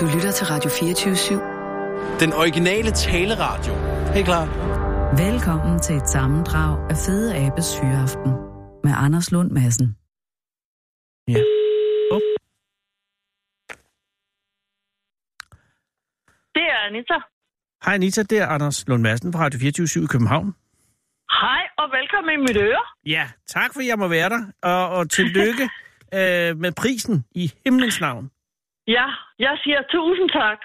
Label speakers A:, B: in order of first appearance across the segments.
A: Du lytter til Radio 24-7.
B: Den originale taleradio. Helt klar.
A: Velkommen til et sammendrag af Fede Abes Hyreaften med Anders Lund Madsen.
B: Ja. Oh.
C: Det er Anita.
D: Hej Anita, det er Anders Lund Madsen fra Radio 24 i København.
C: Hej og velkommen i mit øre.
D: Ja, tak for, at jeg må være der, og, og tillykke øh, med prisen i himlens navn.
C: Ja, jeg siger tusind tak.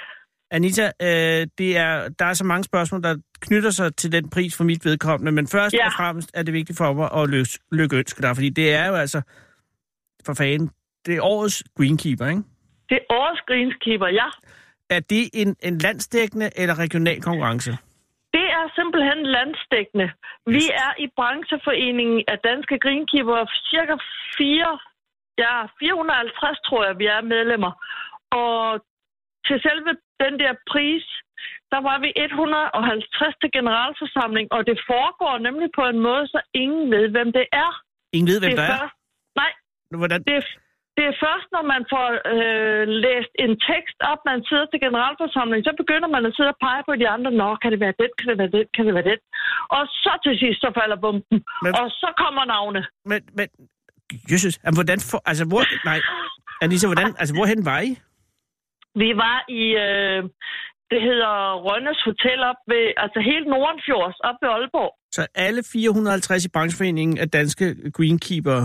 D: Anita, øh, det er, der er så mange spørgsmål, der knytter sig til den pris for mit vedkommende, men først
C: Ja.
D: og fremmest er det vigtigt for mig at løs, lykke ønske dig, fordi det er jo altså, for fanden, det er årets greenkeeper, ikke?
C: Det er årets greenskeeper, ja.
D: Er det en, en landsdækkende eller regional konkurrence?
C: Det er simpelthen landstækkende. Vi er i brancheforeningen af danske greenkeeper cirka 4, ja, 450, tror jeg, vi er medlemmer. Og til selve den der pris, der var vi 150 til generalforsamling, og det foregår nemlig på en måde, så ingen ved, hvem det er.
D: Ingen ved, hvem
C: det
D: der er.
C: først- Nej,
D: Hvordan?
C: det, er- det er først, når man får øh, læst en tekst op, man sidder til generalforsamling, så begynder man at sidde og pege på de andre. Nå, kan det være den? Kan det være den? Kan det være den? Og så til sidst, så falder bomben.
D: Men-
C: Men... Og så kommer navne.
D: Men, men, Jesus, jamen, hvordan for, altså, hvor, nej, Anita, hvordan, altså, hvorhen var I?
C: Vi var i, øh, det hedder Rønnes Hotel op ved, altså helt Nordenfjords, op ved Aalborg.
D: Så alle 450 i brancheforeningen af danske greenkeeper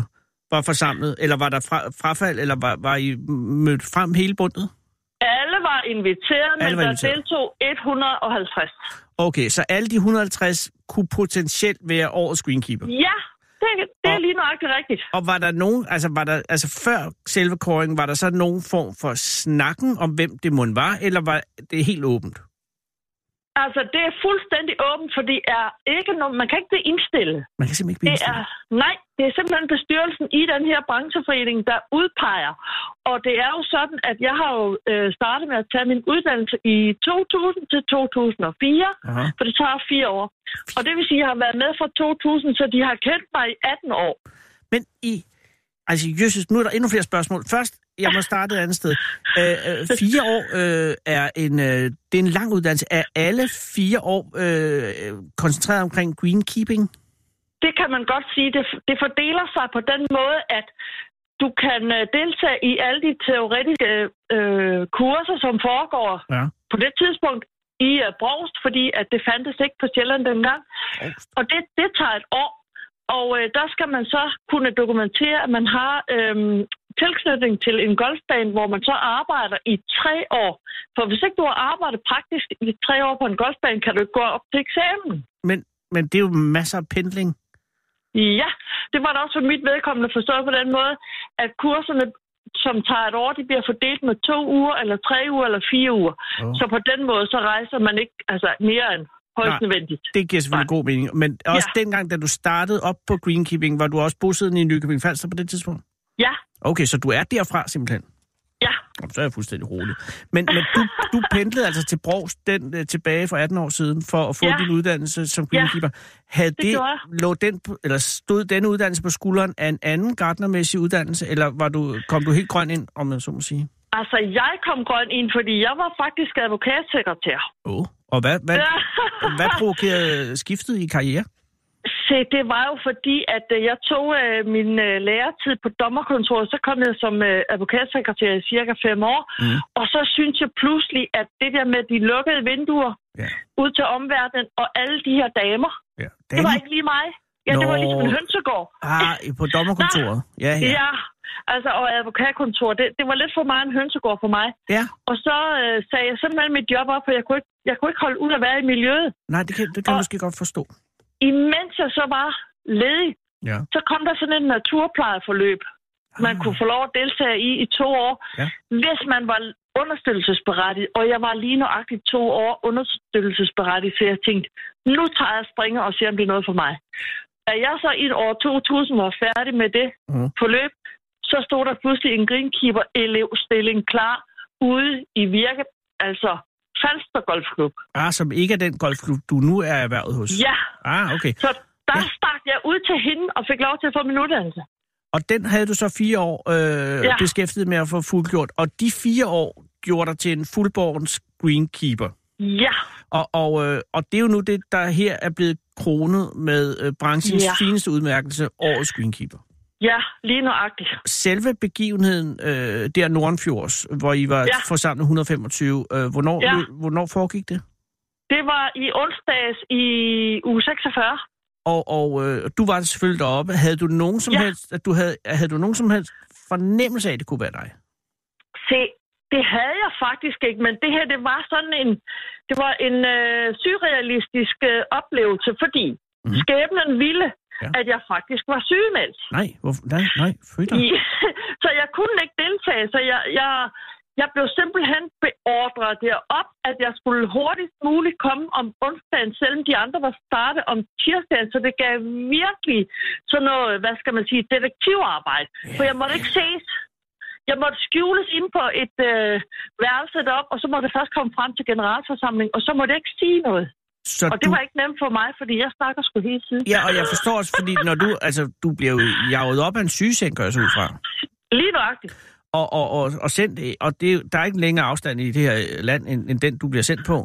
D: var forsamlet, eller var der fra, frafald, eller var, var I mødt frem hele bundet?
C: Alle var inviteret, men
D: Alle var
C: der
D: inviteret.
C: deltog 150.
D: Okay, så alle de 150 kunne potentielt være årets greenkeeper.
C: Ja, det, det er
D: Og-
C: lige nøjagtigt rigtigt.
D: Og var der nogen, altså, var der, altså før selve kåringen, var der så nogen form for snakken om, hvem det måtte var, eller var det helt åbent?
C: Altså, det er fuldstændig åbent, for det er ikke no- man kan ikke det indstille.
D: Man kan simpelthen ikke blive
C: Det
D: indstillet.
C: er, nej, det er simpelthen bestyrelsen i den her brancheforening, der udpeger. Og det er jo sådan, at jeg har jo øh, startet med at tage min uddannelse i 2000 til 2004,
D: Aha.
C: for det tager fire år. Og det vil sige, at jeg har været med fra 2000, så de har kendt mig i 18 år.
D: Men i... Altså, Jesus, nu er der endnu flere spørgsmål. Først, jeg må starte et andet sted. Øh, øh, fire år øh, er en øh, det er en lang uddannelse. Er alle fire år øh, øh, koncentreret omkring greenkeeping?
C: Det kan man godt sige. Det, det fordeler sig på den måde, at du kan øh, deltage i alle de teoretiske øh, kurser, som foregår
D: Ja.
C: på det tidspunkt i øh, Brogst, fordi at det fandtes ikke på Sjælland dengang. Og det, det tager et år. Og øh, der skal man så kunne dokumentere, at man har øh, tilknytning til en golfbane, hvor man så arbejder i tre år. For hvis ikke du har arbejdet praktisk i tre år på en golfbane, kan du ikke gå op til eksamen.
D: Men, men det er jo masser af pendling.
C: Ja, det var da også for mit vedkommende forstået på den måde, at kurserne, som tager et år, de bliver fordelt med to uger, eller tre uger, eller fire uger.
D: Åh.
C: Oh. Så på den måde, så rejser man ikke altså, mere end højst
D: Nej.
C: nødvendigt.
D: Det giver selvfølgelig god mening. Men også ja. dengang, da du startede op på greenkeeping, var du også bosiddende i Nykøbing Falster på det tidspunkt?
C: Ja,
D: Okay, så du er derfra simpelthen?
C: ja,
D: Jamen, så er jeg fuldstændig rolig. Men, men du, du pendlede altså til Brogs den, øh, tilbage for 18 år siden for at få ja.
C: Ja.
D: din uddannelse som greenkeeper. Havde det,
C: gjorde jeg.
D: lå den, på- eller stod den uddannelse på skulderen af en anden gartnermæssig uddannelse, eller var du, kom du helt grøn ind, om man så må sige?
C: altså jeg kom grøn ind, fordi jeg var faktisk advokatsekretær.
D: Åh. Oh. Og hvad, hvad,
C: Ja.
D: hvad provokerede skiftet i karriere?
C: Se, det var jo fordi, at øh, jeg tog øh, min øh, læretid på dommerkontoret, så kom jeg som øh, advokatsekretær i cirka fem år,
D: Mhm.
C: mm. og så syntes jeg pludselig, at det der med de lukkede vinduer
D: Ja.
C: ud til omverdenen og alle de her damer,
D: ja.
C: det var
D: Dame?
C: ikke lige mig. Ja, det var
D: Nå.
C: ligesom en hønsegård.
D: Ah, på dommerkontoret. Ja,
C: Ja.
D: ja.
C: ja. Altså, og advokatkontor, det, det var lidt for meget en hønsegård for mig.
D: ja.
C: Og så øh, sagde jeg simpelthen mit job op, for jeg kunne ikke, jeg kunne ikke holde ud at være i miljøet.
D: Nej, det kan, det kan jeg
C: Og-
D: måske godt forstå.
C: Imens jeg så var ledig,
D: Ja. Ah.
C: så kom der sådan et naturplejeforløb, man kunne få lov at deltage i i to år,
D: Ja.
C: hvis man var understøttelsesberettiget. Og jeg var lige nøjagtigt to år understøttelsesberettiget, så jeg tænkte, nu tager jeg springer og ser, om det er noget for mig. Da jeg så i et år 2000 var færdig med det
D: Mhm.
C: mm. forløb, så stod der pludselig en greenkeeper-elevstilling klar ude i Virke, altså Falster Golfklub.
D: Ah, som ikke er den golfklub, du nu er erhvervet hos.
C: Ja,
D: Ah, okay.
C: så der
D: Ja.
C: stak jeg ud til hende og fik lov til at få min uddannelse.
D: Og den havde du så fire år øh, ja.
C: Ja.
D: beskæftiget med at få fuldgjort. Og de fire år gjorde dig til en fuldborgens greenkeeper.
C: Ja,
D: Og, og, øh, og det er jo nu det, der her er blevet kronet med øh, branchens
C: Ja.
D: ja. fineste udmærkelse, årets greenkeeper.
C: ja, lige nøjagtigt.
D: Selve begivenheden øh, der Nordenfjords, hvor I var
C: Ja.
D: ja. forsamlet 125, øh, hvornår,
C: Ja.
D: ja. hvornår foregik det?
C: Det var i onsdags i uge 46.
D: Og, og øh, du var selvfølgelig deroppe. Havde du nogen som
C: Ja.
D: ja. helst, at du havde, havde du nogen som helst fornemmelse af, at det kunne være dig?
C: Se, det havde jeg faktisk ikke, men det her, det var sådan en, det var en øh, surrealistisk øh, oplevelse, fordi mm.
D: Mhm.
C: skæbnen ville, ja.
D: Ja.
C: at jeg faktisk var sygemeldt.
D: Nej, hvorfor? Nej, nej, frytter.
C: I, så jeg kunne ikke deltage, så jeg, jeg, jeg blev simpelthen beordret derop, at jeg skulle hurtigst muligt komme om onsdagen, selvom de andre var startet om tirsdagen, så det gav virkelig sådan noget, hvad skal man sige, detektivarbejde. For jeg måtte ikke ses. Jeg måtte skjules ind på et øh, værelse derop, og så måtte jeg først komme frem til generalforsamling, og så måtte jeg ikke sige noget.
D: Så
C: Og det var ikke nemt for mig, fordi jeg snakker sgu hele tiden.
D: Ja, og jeg forstår også, fordi når du, altså, du bliver jo jaget op af en sygeseng, gør jeg så ud fra.
C: Lige nøjagtigt.
D: og, og, og, og sendt, øh, og det, er jo- der er ikke længere afstand i det her øh, land, end, end den, du bliver sendt på.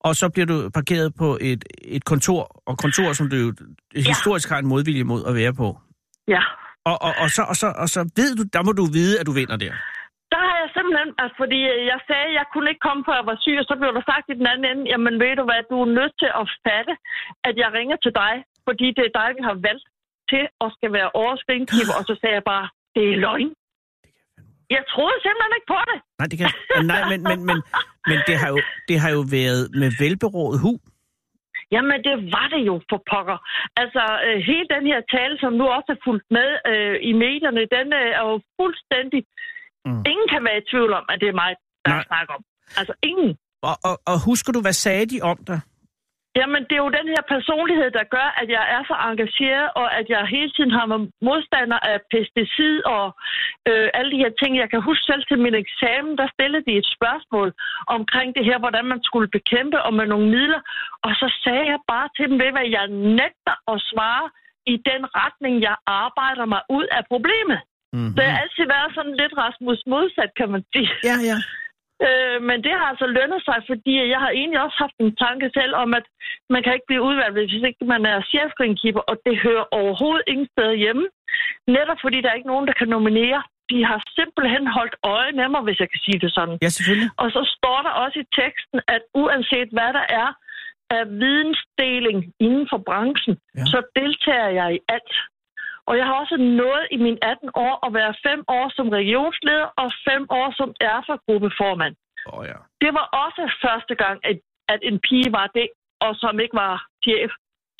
D: Og så bliver du parkeret på et, et kontor, og kontor, som du jo historisk har en modvilje mod at være på.
C: Ja.
D: Og, og, og, så, og, så, og så ved du, der må du vide, at du vinder der.
C: Der har jeg simpelthen, altså, fordi jeg sagde, at jeg kunne ikke komme, før jeg var syg, og så blev der sagt i den anden ende, jamen ved du hvad, du er nødt til at fatte, at jeg ringer til dig, fordi det er dig, vi har valgt til at skal være årets greenkeeper, og så sagde jeg bare, det er løgn. Jeg troede simpelthen ikke på det.
D: Nej, det kan, ah, nej men, men, men, men det, har jo, det har jo været med velberådet hu.
C: Jamen, det var det jo for pokker. Altså, øh, hele den her tale, som nu også er fulgt med øh, i medierne, den øh, er jo fuldstændig... Mm.
D: Mm.
C: Ingen kan være i tvivl om, at det er mig, der
D: Nej.
C: snakker om. Altså, ingen.
D: Og, og, og husker du, hvad sagde de om dig?
C: Jamen, det er jo den her personlighed, der gør, at jeg er så engageret, og at jeg hele tiden har været modstander af pesticid og øh, alle de her ting. Jeg kan huske selv til min eksamen, der stillede de et spørgsmål omkring det her, hvordan man skulle bekæmpe og med nogle midler. Og så sagde jeg bare til dem, ved I hvad jeg nægter at svare i den retning, jeg arbejder mig ud af problemet.
D: Mm-hmm.
C: Så jeg har altid været sådan lidt Rasmus modsat, kan man sige.
D: Ja, ja.
C: Øh, men det har altså lønnet sig, fordi jeg har egentlig også haft en tanke selv om, at man kan ikke blive udvalgt, hvis ikke man er chefgreenkeeper, og det hører overhovedet ingen steder hjemme. Netop fordi der er ikke nogen, der kan nominere. De har simpelthen holdt øje med mig, hvis jeg kan sige det sådan.
D: Ja, selvfølgelig.
C: Og så står der også i teksten, at uanset hvad der er af vidensdeling inden for branchen, ja.
D: Ja.
C: så deltager jeg i alt. Og jeg har også nået i mine 18 år at være fem år som regionsleder og fem år som erfa-gruppeformand
D: Åh, oh, ja.
C: det var også første gang, at, at en pige var det, og som ikke var chef.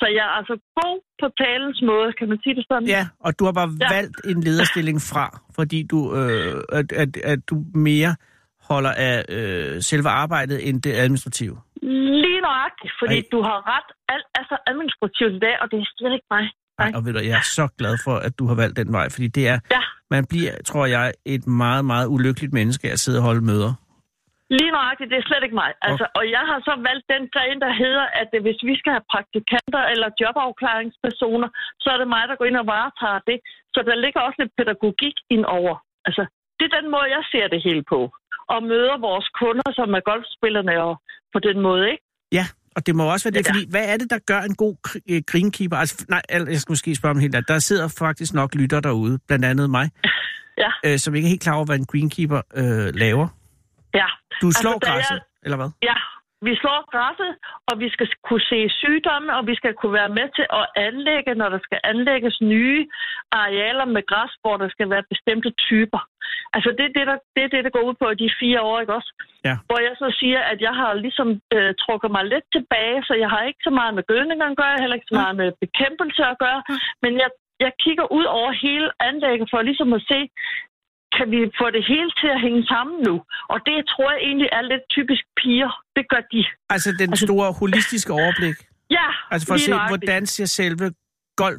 C: Så jeg er altså god på talens måde, kan man sige det sådan?
D: Ja, og du har bare
C: Ja.
D: ja. valgt en lederstilling fra, fordi du, øh, at, at, at du mere holder af øh, selve arbejdet end det administrative.
C: Lige nøjagtigt, fordi Ej.
D: Ej.
C: du har ret. Alt er så administrativt i dag, og det er slet ikke mig.
D: Ej, og ved du, jeg er så glad for, at du har valgt den vej, fordi det er,
C: Ja.
D: man bliver, tror jeg, et meget, meget ulykkeligt menneske at sidde og holde møder.
C: Lige nøjagtigt, det er slet ikke mig. Altså, og jeg har så valgt den gren, der hedder, at øh, hvis vi skal have praktikanter eller jobafklaringspersoner, så er det mig, der går ind og varetager det. Så der ligger også lidt pædagogik indover. Altså, det er den måde, jeg ser det hele på. Og møder vores kunder, som er golfspillerne, og på den måde, ikke?
D: Ja, og det må også være det,
C: Ja.
D: ja. fordi hvad er det, der gør en god gr- øh, greenkeeper? Altså, nej, al- jeg skal måske spørge om helt andet. Der sidder faktisk nok lytter derude, blandt andet mig,
C: Ja.
D: øh, som ikke er helt klar over, hvad en greenkeeper øh, laver.
C: Ja,
D: Du slår
C: Altså, da jeg-
D: græsset, eller hvad?
C: ja. Vi slår græsset, og vi skal kunne se sygdomme, og vi skal kunne være med til at anlægge, når der skal anlægges nye arealer med græs, hvor der skal være bestemte typer. Altså det er det, der, det, er det, der går ud på i de fire år, ikke også?
D: Ja.
C: Hvor jeg så siger, at jeg har ligesom øh, trukket mig lidt tilbage, så jeg har ikke så meget med gødning at gøre, heller ikke så meget med bekæmpelse at gøre, men jeg, jeg kigger ud over hele anlægget for ligesom at se, kan vi få det hele til at hænge sammen nu? Og det tror jeg egentlig er lidt typisk piger. Det gør de.
D: Altså den
C: Altså-
D: store holistiske overblik.
C: Ja,
D: Altså for at
C: lige
D: se,
C: nøjagtigt.
D: hvordan ser selve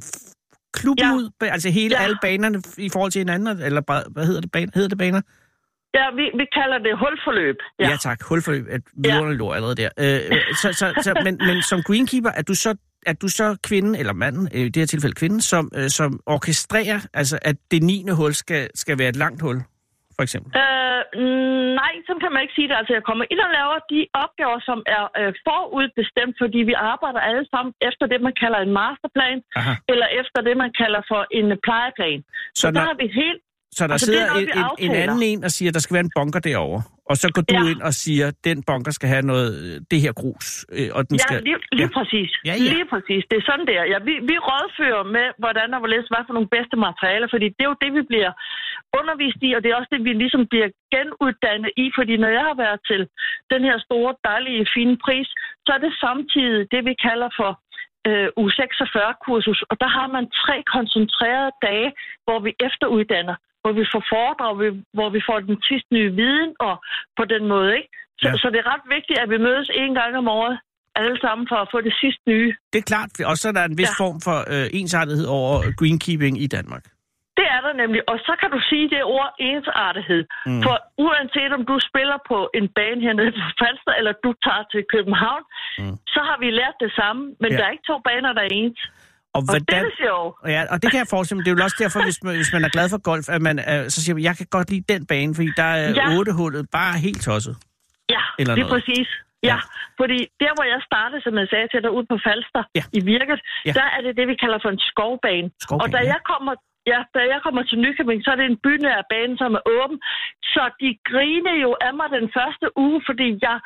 D: golfklubben
C: Ja.
D: ja. ud? Ba- Altså hele
C: Ja.
D: ja. alle banerne f- i forhold til hinanden, eller ba- hvad hedder det? Ban- hedder det baner?
C: Ja, vi, vi kalder det hulforløb. Ja.
D: Ja,
C: ja.
D: ja tak. Hulforløb at vidunderligt ord allerede der. Øh, øh, så, så, så, men, men som greenkeeper, er du så er du så kvinden, eller manden, øh, i det her tilfælde kvinden, som, øh, som orkestrerer, altså at det 9. hul skal, skal være et langt hul, for eksempel?
C: Øh, mm, nej, så sådan kan man ikke sige det. Altså, jeg kommer ind og laver de opgaver, som er øh, forudbestemt, fordi vi arbejder alle sammen efter det, man kalder en masterplan,
D: Aha.
C: eller efter det, man kalder for en øh, plejeplan.
D: Så
C: Så, så der
D: når-
C: har vi helt...
D: Så der altså,
C: Altså, det er
D: sidder en,
C: noget, vi
D: en, en
C: aftaler.
D: anden en og siger, at der skal være en bunker derovre. Og så går du
C: Ja.
D: ja. ind og siger, at den bunker skal have noget, øh, det her grus. øh, Og den
C: Ja,
D: skal...
C: lige, lige præcis.
D: Ja, ja.
C: Lige præcis. Det er sådan, der. Ja, vi, vi rådfører med, hvordan og hvorledes, hvad for nogle bedste materialer, fordi det er jo det, vi bliver undervist i, og det er også det, vi ligesom bliver genuddannet i, fordi når jeg har været til den her store, dejlige, fine pris, så er det samtidig det, vi kalder for øh, U46-kursus, og der har man tre koncentrerede dage, hvor vi efteruddanner, hvor vi får foredrag, hvor vi- hvor vi får den sidste nye viden, og på den måde, ikke? Så,
D: Ja.
C: ja. så det er ret vigtigt, at vi mødes en gang om året, alle sammen, for at få det sidste nye.
D: Det er klart, og så er der en vis ja.
C: Ja.
D: form for øh, ensartethed over greenkeeping i Danmark.
C: Det er der nemlig, og så kan du sige det ord ensartethed. Mm. For uanset om du spiller på en bane hernede på Falster, eller du tager til København, mm. så har vi lært det samme,
D: Ja.
C: men ja. der er ikke to baner, der er ens.
D: Og,
C: Og det er det sjove.
D: Ja, og det kan jeg forestille mig. Det er jo også derfor, hvis man, hvis man er glad for golf, at man øh, så siger, man, jeg kan godt lide den bane, fordi der er
C: Ja.
D: ja. ottehullet bare helt tosset.
C: Ja,
D: Eller
C: lige
D: noget.
C: præcis. Ja.
D: Ja.
C: ja, fordi der, hvor jeg startede, som jeg sagde til dig, ude på Falster
D: Ja.
C: ja. i Virket,
D: Ja.
C: ja. der er det det, vi kalder for en skovbane.
D: Skovbane,
C: og da
D: ja.
C: jeg kommer Ja, da jeg kommer til Nykøbing, så er det en bynær bane, som er åben. Så de griner jo af mig den første uge, fordi jeg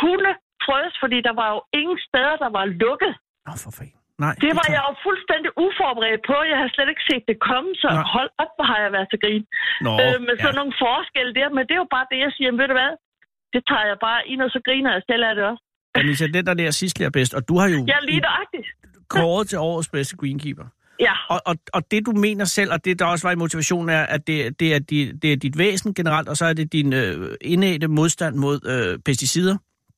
C: hunde frøs, fordi der var jo ingen steder, der var lukket.
D: Nå, for fanden. Nej,
C: Det var
D: er
C: jeg
D: klart.
C: jo fuldstændig uforberedt på. Jeg har slet ikke set det komme, så
D: Nej.
C: hold op, hvor har jeg været til grin.
D: Nå,
C: Øh, med sådan
D: ja.
C: nogle forskelle der, men det er jo bare det, jeg siger, "Men ved du hvad, det tager jeg bare ind, og så griner jeg selv af det også.
D: Anissa, den der der sidst lærer bedst, og du har jo
C: Jeg er lige nøjagtigt.
D: kåret til årets bedste greenkeeper.
C: Ja,
D: Og, og, og det du mener selv, og det der også var i motivationen, er, at det, det, er, dit, det er dit væsen generelt, og så er det din øh, indædte modstand mod øh, pesticider.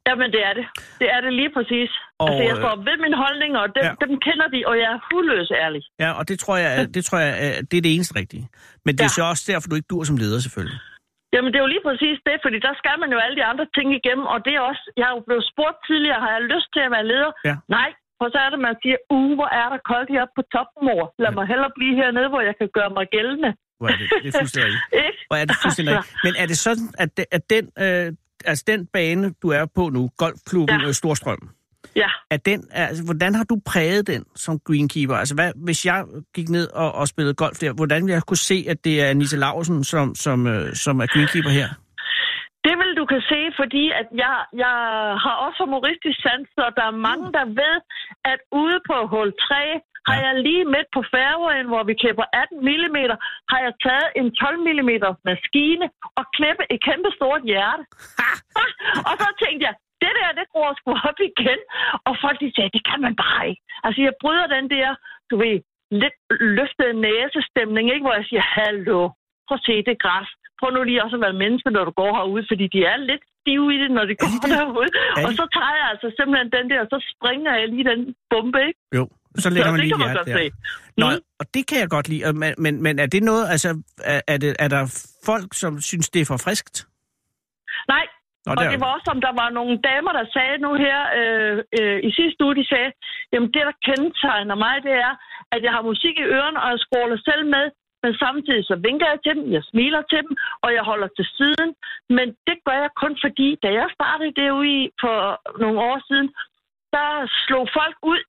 C: jamen det er det. Det er det lige præcis.
D: Og,
C: Og, altså, jeg
D: øh,
C: står ved mine holdninger, og dem,
D: ja.
C: ja. dem kender de, og jeg er hudløs ærlig.
D: Ja, og det tror jeg, at- det, tror jeg at det er det eneste rigtige. Men det er
C: Ja.
D: så også derfor, du ikke dur som leder, selvfølgelig.
C: Jamen, det er jo lige præcis det, fordi der skal man jo alle de andre ting igennem, og det er også, jeg er jo blevet spurgt tidligere, har jeg lyst til at være leder?
D: Ja.
C: Nej, for så er det, man siger, uh, hvor er der koldt heroppe på toppen, mor. Lad mig hellere blive hernede, hvor jeg kan gøre mig gældende.
D: Hvor er det, det er fuldstændig rigtigt.
C: Ikke?
D: Hvor er det fuldstændig rigtigt. Men er det sådan, at, de- at den, øh, altså den bane, du er på nu, golfklubben
C: Ja.
D: ja. Storstrøm,
C: Ja.
D: er den, altså, hvordan har du præget den som greenkeeper? Altså, hvad, hvis jeg gik ned og, og spillede golf der, hvordan ville jeg kunne se, at det er Anita Lausen, som, som, øh, som er greenkeeper her?
C: Det vil du kan se, fordi at jeg, jeg har også humoristisk sans, så der er mange,
D: Mm.
C: der ved, at ude på hul 3 har
D: Ja.
C: jeg lige midt på færgen, hvor vi klipper 18 mm, har jeg taget en 12 mm maskine og klippet et kæmpe stort hjerte. Ah! og så tænkte jeg, det der, det gror sgu op igen. Og folk de sagde, det kan man bare ikke. Altså, jeg bryder den der, du ved, lidt løftede næsestemning, ikke? hvor jeg siger, hallo, prøv at se det er græs. Prøv nu lige også at være menneske, når du går herude, fordi de er lidt stive i det, når de går
D: det?
C: derude.
D: de
C: Og så tager jeg altså simpelthen den der, og så springer jeg lige den bombe, ikke?
D: Jo, så lægger
C: Så
D: man
C: det
D: lige
C: kan man
D: hjertet
C: godt
D: der.
C: se.
D: Nå,
C: Mm.
D: og det kan jeg godt lide. og Men, men, men er det noget, altså, er, er, det, er der folk, som synes, det er for friskt?
C: Nej,
D: Nå,
C: og det var også, om der var nogle damer, der sagde nu her øh, øh, i sidste uge, de sagde, jamen det, der kendetegner mig, det er, at jeg har musik i ørerne, og jeg scroller selv med, men samtidig så vinker jeg til dem, jeg smiler til dem, og jeg holder til siden. Men det gør jeg kun fordi, da jeg startede det ude i for nogle år siden, der slog folk ud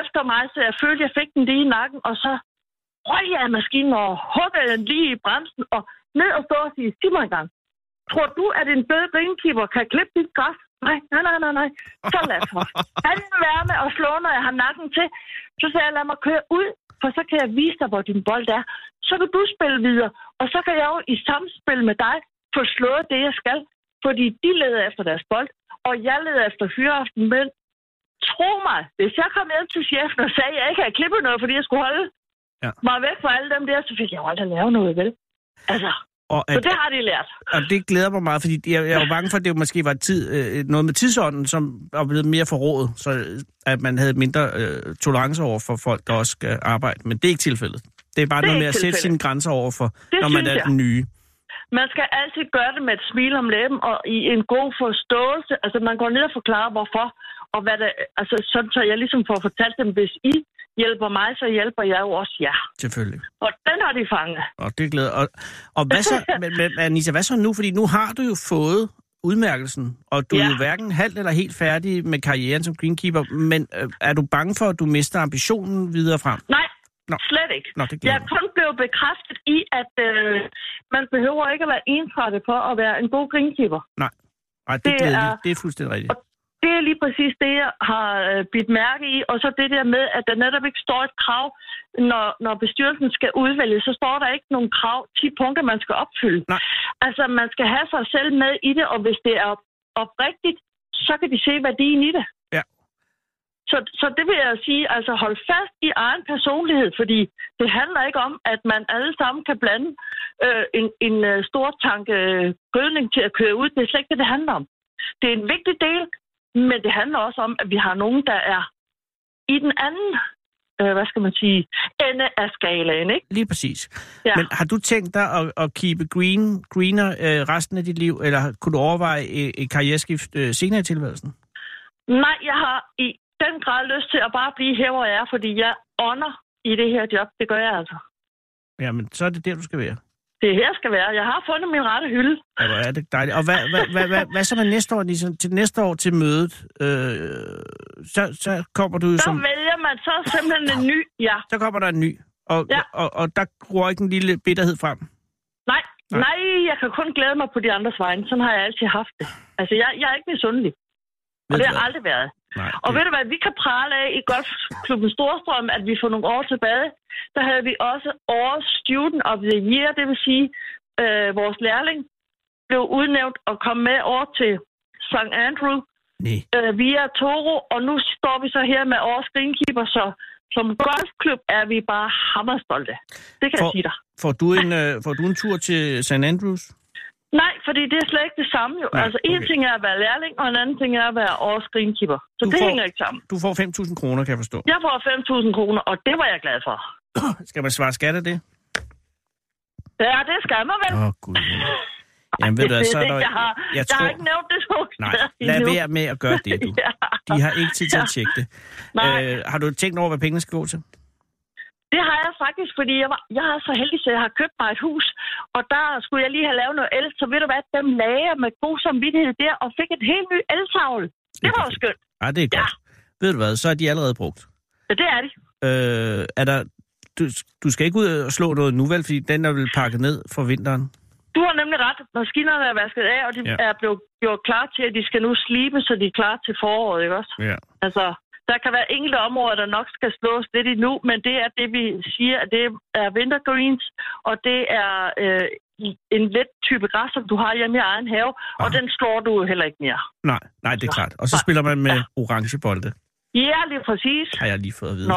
C: efter mig, så jeg følte, jeg fik den lige i nakken, og så røg jeg af maskinen og huggede den lige i bremsen, og ned og stå og sige, sig mig engang, Tror du, at en bedre greenkeeper kan klippe dit græs? Nej, nej, nej, nej, nej. Så lad mig. Han vil være med og slå, når jeg har nakken til. Så sagde jeg, lad mig køre ud, for så kan jeg vise dig, hvor din bold er. Så kan du spille videre, og så kan jeg jo i samspil med dig få slået det, jeg skal. Fordi de leder efter deres bold, og jeg leder efter hyreaften. Men tro mig, hvis jeg kom hjem til chefen og sagde, at jeg ikke havde klippet noget, fordi jeg skulle holde
D: Ja.
C: ja. mig væk fra alle dem der, så fik jeg jo aldrig lavet noget, vel? Altså,
D: og
C: så
D: at,
C: det har de lært.
D: og det glæder mig meget, fordi jeg, jeg er jo bange for, at det jo måske var tid, øh, noget med tidsånden, som var blevet mere forrådet, så øh, at man havde mindre øh, tolerance over for folk, der også skal arbejde. Men det er ikke tilfældet. Det er bare
C: Det er
D: noget med
C: ikke
D: at sætte
C: tilfældet.
D: sine grænser over for,
C: Det
D: når man
C: synes
D: er
C: jeg.
D: den nye.
C: Man skal altid gøre det med et smil om læben og i en god forståelse. Altså, man går ned og forklarer, hvorfor. Og hvad det, altså, sådan så jeg ligesom får fortalt dem, hvis I hjælper mig, så hjælper jeg jo også jer.
D: Selvfølgelig.
C: Og den har de fanget.
D: Og det glæder. Og, og hvad så, men, men, Anissa, hvad så nu? Fordi nu har du jo fået udmærkelsen, og du ja. er
C: Ja.
D: jo hverken halvt eller helt færdig med karrieren som greenkeeper, men øh, er du bange for, at du mister ambitionen videre frem?
C: Nej,
D: Nå.
C: Nå. slet ikke.
D: Nå, det
C: Jeg
D: glæder
C: er kun blevet bekræftet i, at øh, man behøver ikke at være ensrettet for at være en god greenkeeper.
D: Nej, det,
C: det
D: det, er...
C: er-
D: det er fuldstændig rigtigt.
C: Det er lige præcis det, jeg har øh, bidt mærke i. Og så det der med, at der netop ikke står et krav, når, når bestyrelsen skal udvælge, så står der ikke nogen krav, 10 punkter, man skal opfylde.
D: Nej.
C: Altså, man skal have sig selv med i det, og hvis det er oprigtigt, så kan de se værdien i det.
D: Ja.
C: Så, så det vil jeg sige, altså hold fast i egen personlighed, fordi det handler ikke om, at man alle sammen kan blande øh, en, en øh, stor tanke øh, gødning til at køre ud. Det er slet ikke det, det handler om. Det er en vigtig del, men det handler også om, at vi har nogen, der er i den anden, øh, hvad skal man sige, ende af skalaen, ikke?
D: Lige præcis.
C: Ja.
D: Men har du tænkt dig at, at keepe green, greener øh, resten af dit liv, eller kunne du overveje et, et karriereskift øh, senere i tilværelsen?
C: Nej, jeg har i den grad lyst til at bare blive her, hvor jeg er, fordi jeg ånder i det her job. Det gør jeg altså.
D: Jamen, så er det der, du skal være.
C: Det er her jeg skal være. Jeg har fundet min rette hylde.
D: Ja, hvor er det dejligt. Og hvad, hvad, hvad, hvad, hvad så med næste år, Lisa? Til næste år til mødet, øh, så, så kommer du jo
C: Så
D: som...
C: vælger man så simpelthen en ny, ja.
D: Så kommer der en ny, og,
C: Ja.
D: og, og der gror ikke en lille bitterhed frem.
C: Nej,
D: Nej.
C: nej, nej, jeg kan kun glæde mig på de andres vegne. Sådan har jeg altid haft det. Altså, jeg, jeg er ikke misundelig. Og
D: Ved du
C: det har jeg
D: hvad?
C: aldrig været.
D: Nej,
C: Og
D: det-
C: ved du hvad, vi kan prale af i golfklubben Storstrøm, at vi for nogle år tilbage, der havde vi også årets student of the year, det vil sige, øh, vores lærling blev udnævnt og kom med over til St. Andrew
D: Nej.
C: øh, via Toro, og nu står vi så her med årets greenkeeper, så som golfklub er vi bare hammerstolte. Det kan for... jeg
D: For-
C: sige dig.
D: Får du, en, øh, får du en tur til St. Andrews?
C: Nej, fordi det er slet ikke det samme jo.
D: Nej,
C: Nej, altså, en
D: okay.
C: ting er at være lærling, og en anden ting er at være årets greenkeeper. Så
D: Du
C: det
D: får-
C: hænger ikke sammen.
D: Du får 5.000 kroner, kan jeg forstå.
C: Jeg får 5.000 kroner, og det var jeg glad for.
D: Skal man svare skat af det?
C: Ja, det skal man vel.
D: Åh, oh, gud. Jamen, ved du, hvad,
C: det,
D: så er
C: det,
D: der...
C: jeg, har, jeg, jeg har ikke nævnt det to
D: Nej,
C: steder
D: lad
C: endnu.
D: være med at gøre det, du.
C: Ja.
D: De har ikke tid til at tjekke det.
C: Nej.
D: Øh, har du tænkt over, hvad pengene skal gå til?
C: Det har jeg faktisk, fordi jeg, var, jeg er så heldig, at jeg har købt mig et hus, og der skulle jeg lige have lavet noget el, så ved du hvad, dem lagde jeg med god samvittighed der, og fik et helt ny eltavle. Det var jo
D: perfekt.
C: skønt.
D: Nej, det er
C: Ja.
D: godt. Ved du hvad, så er de allerede brugt.
C: Ja, det er det.
D: Øh, er der... Du, du skal ikke ud og slå noget nu, vel? Fordi den er vel pakket ned for vinteren.
C: Du har nemlig ret. Maskinerne er vasket af, og de
D: Ja.
C: ja. er blevet gjort klar til, at de skal nu slibe, så de er klar til foråret, ikke også?
D: Ja.
C: Altså, der kan være enkelte områder, der nok skal slås lidt endnu, men det er det, vi siger, at det er wintergreens, og det er øh, i- en let type græs, som du har hjemme i egen have, og
D: Aha.
C: den slår du jo heller ikke mere.
D: Nej, nej, det er klart. Og så spiller man med orange bolde,
C: Ja, lige præcis.
D: har jeg lige fået at vide.
C: Nå,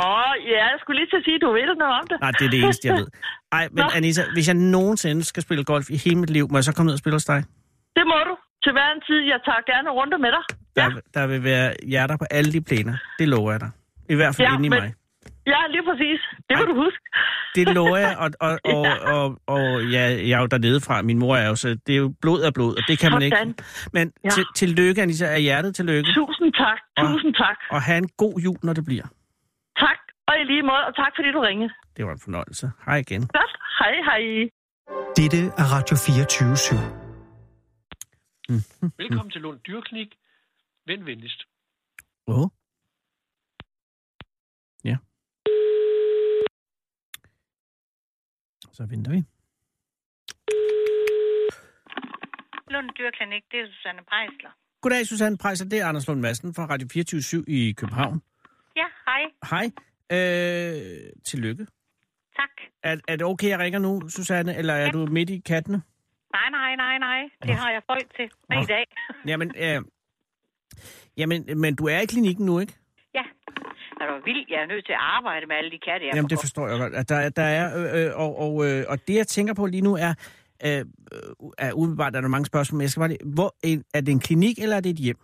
C: ja, jeg skulle lige til at sige, at du ved noget om det.
D: Nej, det er det eneste, jeg ved. Ej, men
C: Nå.
D: Anissa, hvis jeg nogensinde skal spille golf i hele mit liv, må jeg så komme ned og spille hos dig?
C: Det må du. Til hver en tid. Jeg tager gerne runder med dig.
D: Der,
C: Ja.
D: der vil være hjerter på alle de planer. Det lover jeg dig. I hvert fald ja,
C: Ja,
D: inde i
C: men-
D: mig.
C: Ja, lige præcis. Det må
D: Ej.
C: du huske.
D: Det lover jeg, og, og, og, og, og, og ja, jeg er jo dernede fra. Min mor er jo, så det er jo blod af blod, og det kan man
C: Sådan.
D: ikke. Men
C: Ja.
D: til, tillykke, Anissa, af hjertet tillykke.
C: Tusind tak.
D: Og-
C: Tusind tak.
D: Og have en god jul, når det bliver.
C: Tak. Og i lige måde, og tak fordi du ringede.
D: Det var en fornøjelse. Hej igen.
C: Godt. Hej, hej.
E: Dette er Radio 24 /7.
F: Velkommen til Lund Dyrklinik. Vend venligst.
D: Åh. Ja. Så venter vi.
G: Lund Dyrklinik, det er Susanne Prejsler.
D: Goddag, Susanne Prejser. Det er Anders Lund Madsen fra Radio 24 i København.
G: Ja, hej.
D: Hej. Øh, tillykke.
G: Tak.
D: Er, er det okay, jeg ringer nu, Susanne, eller er du midt i kattene?
G: Nej, nej, nej, nej. Det har jeg folk til
D: Nå.
G: i dag.
D: Jamen, øh, jamen, men du er i klinikken nu, ikke?
G: Ja. Er du vildt? Jeg er nødt til at arbejde med alle de katte, jeg
D: Jamen, det
G: får.
D: forstår jeg godt. At Der, er- der er, øh, øh, og, og, øh, og det, jeg tænker på lige nu, er, øh, øh, er umiddelbart er der mange spørgsmål, men jeg skal bare lige, hvor, øh, er det en klinik, eller er det et hjem?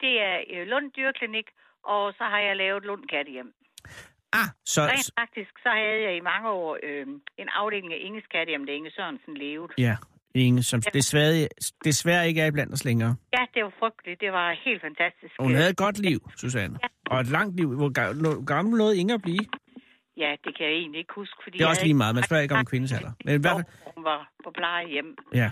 G: Det er øh, Lund Dyrklinik, og så har jeg lavet Lund Kattehjem.
D: Ah, så...
G: Rent
D: så-
G: faktisk, så havde jeg i mange år øh, en afdeling af Inges Kattehjem, da Inge Sørensen levede.
D: Ja, Inge, som desværre, desværre ikke er blandt os længere.
G: Ja, det var frygteligt. Det var helt fantastisk.
D: Hun havde et godt liv, Susanne. Og et langt liv. Hvor ga- nå- gammel nåede Inge at blive?
G: Ja, det kan jeg egentlig ikke huske. Fordi
D: Det er
G: jeg
D: også
G: havde
D: lige
G: ikke-
D: meget. Man spørger ikke om kvindens alder. Men i hvert fald,
G: Hun var på plejehjem.
D: ja.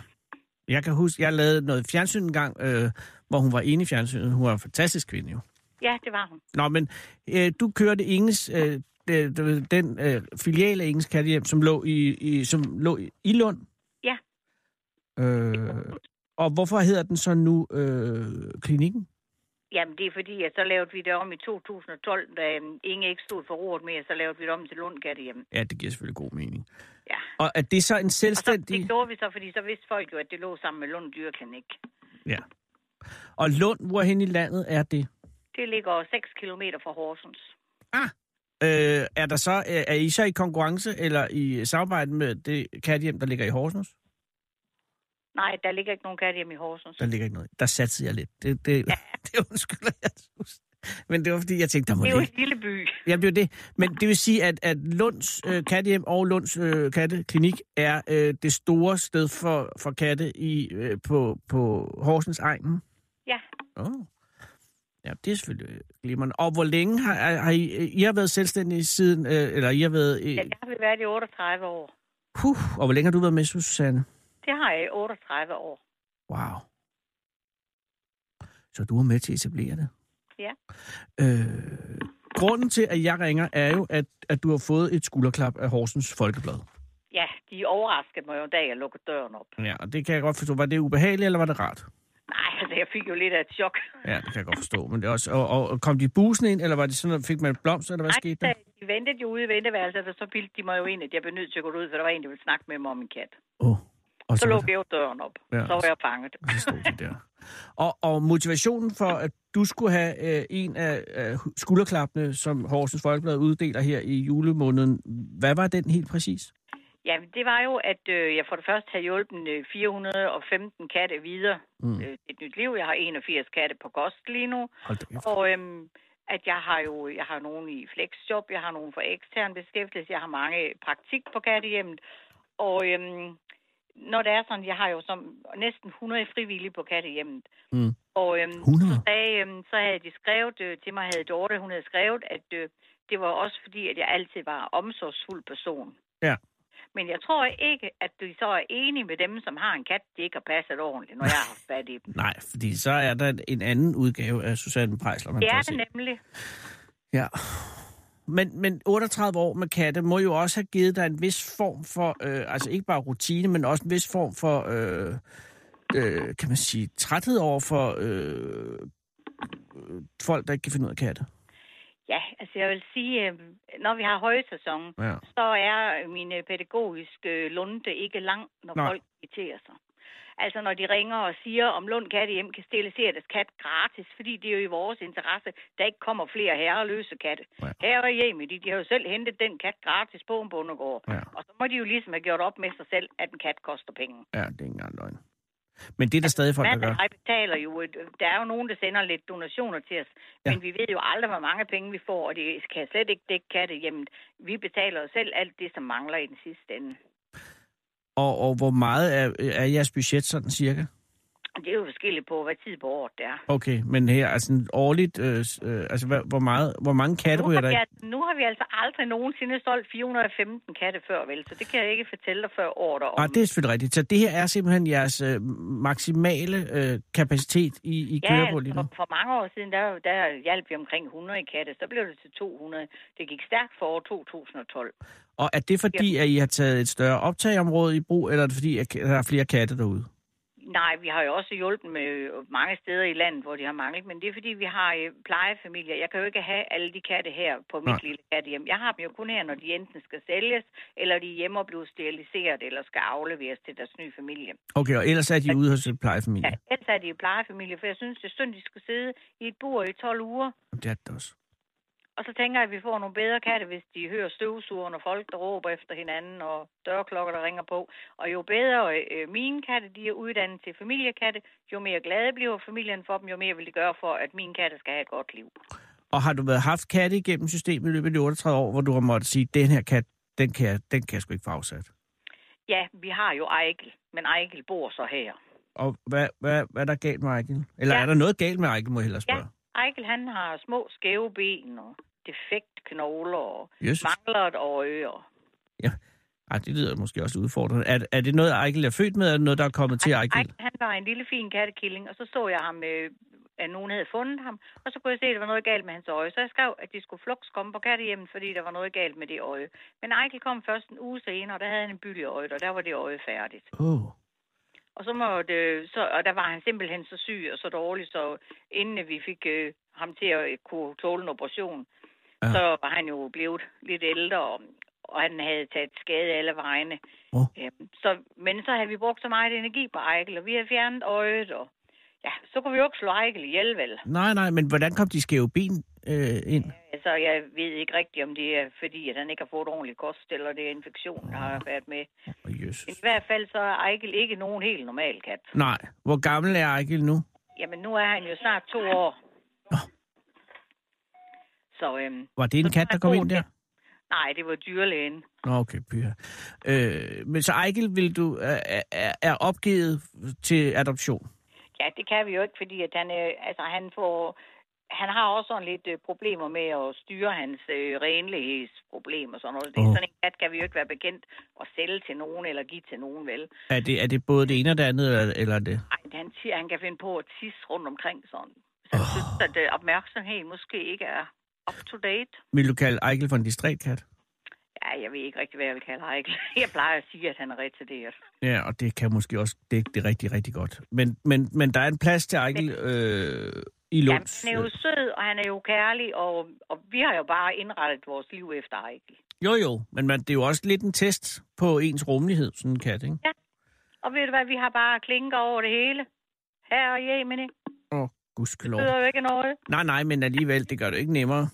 D: Jeg kan huske, jeg lavede noget fjernsyn en gang, øh, hvor hun var inde i fjernsynet. Hun var en fantastisk kvinde jo.
G: Ja, det var hun.
D: Nå, men øh, du kørte Inges, øh, øh, du ved, den øh, filial af Inges Kattehjem, som lå i, i, som lå i, i Lund?
G: Ja.
D: Øh, og hvorfor hedder den så nu øh, klinikken?
G: Jamen, det er fordi, at så lavede vi det om i 2012, da øhm, Inge ikke stod for roret mere, så lavede vi det om til Lundkattehjem.
D: Ja, det giver selvfølgelig god mening.
G: Ja.
D: Og er det så en
G: Og så, det
D: selvstændig...
G: gjorde vi så, fordi så vidste folk jo, at det lå sammen med Lund Dyrklinik.
D: Ja. Og Lund, hvorhen i landet er det?
G: Det ligger 6 km fra Horsens.
D: Øh, er, der så, er I så i konkurrence eller i samarbejde med det kattehjem, der ligger i Horsens?
G: Nej, der ligger ikke nogen kattehjem i Horsens.
D: Der ligger ikke noget. Der satte jeg lidt. Det, det, det undskylder jeg, Sus. Men det var, fordi jeg tænkte, der må
G: Det er jo
D: ikke.
G: en lille by.
D: Ja, det er jo det. Men det vil sige, at, at Lunds øh, kattehjem og Lunds øh, katteklinik er øh, det store sted for, for katte i, øh, på, på Horsens egnen.
G: Ja.
D: Oh. Ja, det er selvfølgelig øh, glimrende. Og hvor længe har, har, har I, øh, I har været selvstændige siden, øh, eller I har været... Øh,
G: ja, der har vi været i 38 år.
D: Puh, og hvor længe har du været med, Susanne?
G: Det har jeg i 38 år.
D: Wow. Så du er med til at etablere det?
G: Ja.
D: Øh, grunden til, at jeg ringer, er jo, at, at du har fået et skulderklap af Horsens Folkeblad.
G: Ja, de overraskede mig jo, da jeg lukkede døren op.
D: Ja, og det kan jeg godt forstå. Var det ubehageligt, eller var det rart?
G: Nej, altså, jeg fik jo lidt af et chok.
D: Ja, det kan jeg godt forstå. Men det er også, og, og, og kom de busende ind, eller var det sådan, noget- fik man et blomst, eller hvad skete der?
G: Nej, da de ventede jo ude i venteværelset, og så bildte de mig jo ind, at jeg blev nødt til at gå ud, for der var en, der ville snakke med mig om min kat.
D: Oh, og
G: Så
D: var
G: lukkede
D: der-
G: jeg jo døren op.
D: Ja.
G: Så var jeg fanget.
D: og så stod de der. Og, og motivationen for, at du skulle have øh, en af øh, skulderklappene, som Horsens Folkeblad uddeler her i julemåneden, hvad var den helt præcis?
G: Ja, det var jo, at øh, jeg for det første havde hjulpet øh, 415 katte videre mm. øh, et nyt liv. Jeg har 81 katte på kost lige nu.
D: Hold da kæft.
G: Og øhm, at jeg har jo jeg har nogen i flexjob, jeg har nogen for ekstern beskæftigelse, jeg har mange praktik på kattehjemmet. Og øhm, når det er sådan, jeg har jo som næsten 100 frivillige på kattehjemmet.
D: Mm.
G: Og øhm,
D: 100?
G: så, sagde, øhm, så havde de skrevet øh, til mig, havde Dorte, hun havde skrevet, at øh, det var også fordi, at jeg altid var omsorgsfuld person.
D: Ja.
G: Men jeg tror ikke, at de så er enige med dem, som har en kat, de ikke har passet ordentligt, når jeg har haft fat i dem.
D: Nej, fordi så er der en anden udgave af Susanne Prejsler, man
G: Det er
D: kan
G: det
D: se.
G: nemlig.
D: Ja. Men, men 38 år med katte må jo også have givet dig en vis form for, øh, altså ikke bare rutine, men også en vis form for, øh, øh, kan man sige, træthed over for øh, øh, folk, der ikke kan finde ud af katte.
G: Ja, altså jeg vil sige, øh, når vi har højsæson,
D: Ja.
G: så er min øh, pædagogiske øh, lunde ikke lang, når
D: Nej.
G: Nej. folk irriterer sig. Altså når de ringer og siger, om Lund Kattehjem kan sterilisere deres kat gratis, fordi det er jo i vores interesse, der ikke kommer flere herreløse katte.
D: Ja.
G: Ja. Herrehjemme, de, de har jo selv hentet den kat gratis på en bondegård.
D: Ja.
G: Ja. Og så må de jo ligesom have gjort op med sig selv, at en kat koster penge.
D: Ja, det er ikke engang løgn. Men det er der stadig folk, der
G: Mand og
D: gør.
G: jeg betaler jo, et, der er jo nogen, der sender lidt donationer til os,
D: Ja.
G: ja. men vi ved jo aldrig, hvor mange penge vi får, og det kan slet ikke dække kattehjemmet. Vi betaler jo selv alt det, som mangler i den sidste ende.
D: Og, og hvor meget er, er jeres budget sådan cirka?
G: Det er jo forskelligt på, hvad tid på året det er.
D: Okay, men her, altså sådan årligt, øh, øh, altså hvad, hvor, meget, hvor mange katte
G: Nu har,
D: ryger der
G: vi,
D: i?
G: altså- nu har vi altså aldrig nogensinde solgt 415 katte før, vel? Så det kan jeg ikke fortælle dig før året er om.
D: Ah, det er selvfølgelig rigtigt. Så det her er simpelthen jeres øh, maksimale øh, kapacitet, I, I kører på lige nu?
G: for, for mange år siden, der, der hjalp vi omkring 100 katte. Så blev det til 200. Det gik stærkt for år 2012.
D: Og er det fordi, at I har taget et større optagområde i brug, eller er det fordi, at der er flere katte derude?
G: Nej, vi har jo også hjulpet med øh, mange steder i landet, hvor de har manglet, men det er fordi, vi har øh, plejefamilier. Jeg kan jo ikke have alle de katte her på mit
D: Nej.
G: Nej. lille kattehjem. Jeg har dem jo kun her, når de enten skal sælges, eller de er hjemme og bliver steriliseret, eller skal afleveres til deres nye familie.
D: Okay, og ellers er de ude hos et
G: Ja,
D: plejefamilie.
G: ellers er de jo plejefamilie, for jeg synes, det er synd, de skal sidde i et bur i 12 uger.
D: Det er det også.
G: Og så tænker jeg, at vi får nogle bedre katte, hvis de hører støvsugerne og folk, der råber efter hinanden, og dørklokker, der ringer på. Og jo bedre øh, mine katte, de er uddannet til familiekatte, jo mere glade bliver familien for dem, jo mere vil de gøre for, at mine katte skal have et godt liv.
D: Og har du været haft katte igennem systemet i løbet af de 38 år, hvor du har måttet sige, den her kat, den kan jeg, den kan jeg sgu ikke få afsat?
G: Ja, vi har jo Ejkel, men Ejkel bor så her.
D: Og hvad, hvad, hvad er der galt med Ejken? Eller ja.
G: Ja.
D: er der noget galt med Ejken, må jeg hellere
G: Ja,
D: spørge?
G: Ejkel han har små skæve ben og defekt knogler og
D: Ja. Jesus.
G: mangler et øje. og-
D: Ja. Ej, det lyder måske også udfordrende. Er, er det noget, Ejkel er født med, eller er det noget, der er kommet til
G: Ej,
D: Ejkel?
G: han var en lille fin kattekilling, og så så jeg ham, øh, at nogen havde fundet ham, og så kunne jeg se, at der var noget galt med hans øje. Så jeg skrev, at de skulle flugt komme på kattehjemmet, fordi der var noget galt med det øje. Men Eichel kom først en uge senere, og der havde han en byld i øjet, og der var det øje færdigt.
D: Åh, oh,
G: Og, så måtte, øh, så, og der var han simpelthen så syg og så dårlig, så inden at vi fik øh, ham til at øh, kunne tåle en operation,
D: Ja.
G: ja. så var han jo blevet lidt ældre, og, og han havde taget skade alle vegne.
D: Åh.
G: Øhm, så, men så havde vi brugt så meget energi på Eichel, og vi havde fjernet øjet, og ja, så kunne vi jo ikke slå Eichel ihjel, vel?
D: nej, nej, men hvordan kom de skæve ben øh, ind?
G: Altså, jeg ved ikke rigtigt, om det er fordi, at han ikke har fået ordentlig kost, eller det er infektion, der har været med.
D: Åh, oh,
G: Men
D: jøs.
G: i hvert fald så er Eichel ikke nogen helt normal kat.
D: Nej, hvor gammel er Ejkel nu?
G: Jamen, nu er han jo snart to år.
D: Nå.
G: Så, øhm,
D: Var det en kat, der kom ind der?
G: nej, det var dyrlægen.
D: Nå, okay, pyha. Øh, men så Ejkel vil du, er, er, er opgivet til adoption?
G: Ja, det kan vi jo ikke, fordi at han, øh, altså, han får... Han har også sådan lidt øh, problemer med at styre hans øh, renlighedsproblem og sådan noget. Det
D: Åh.
G: er sådan en kat kan vi jo ikke være bekendt at sælge til nogen eller give til nogen, vel?
D: Er det, er det både det ene og det andet, eller, eller er det?
G: Ej, men han siger, at han kan finde på at tisse rundt omkring sådan. Så jeg synes, at øh, opmærksomhed måske ikke er up to date.
D: Vil du kalde Ejkel for en distrætkat?
G: Ja, jeg ved ikke rigtig, hvad jeg vil kalde Eichel. Jeg plejer at sige, at han er retarderet.
D: Ja, og det kan måske også dække det rigtig, rigtig godt. Men, men, men der er en plads til Ejkel øh, i
G: Jamen,
D: Lunds.
G: han er jo sød, og han er jo kærlig, og, og vi har jo bare indrettet vores liv efter Eichel.
D: Jo, jo, men man, det er jo også lidt en test på ens rummelighed, sådan en kat, ikke?
G: Og ved du hvad, vi har bare klinker over det hele. Her og hjemme, det
D: Åh, gudskelov.
G: betyder jo ikke noget.
D: Nej, nej, men alligevel, det gør det ikke nemmere.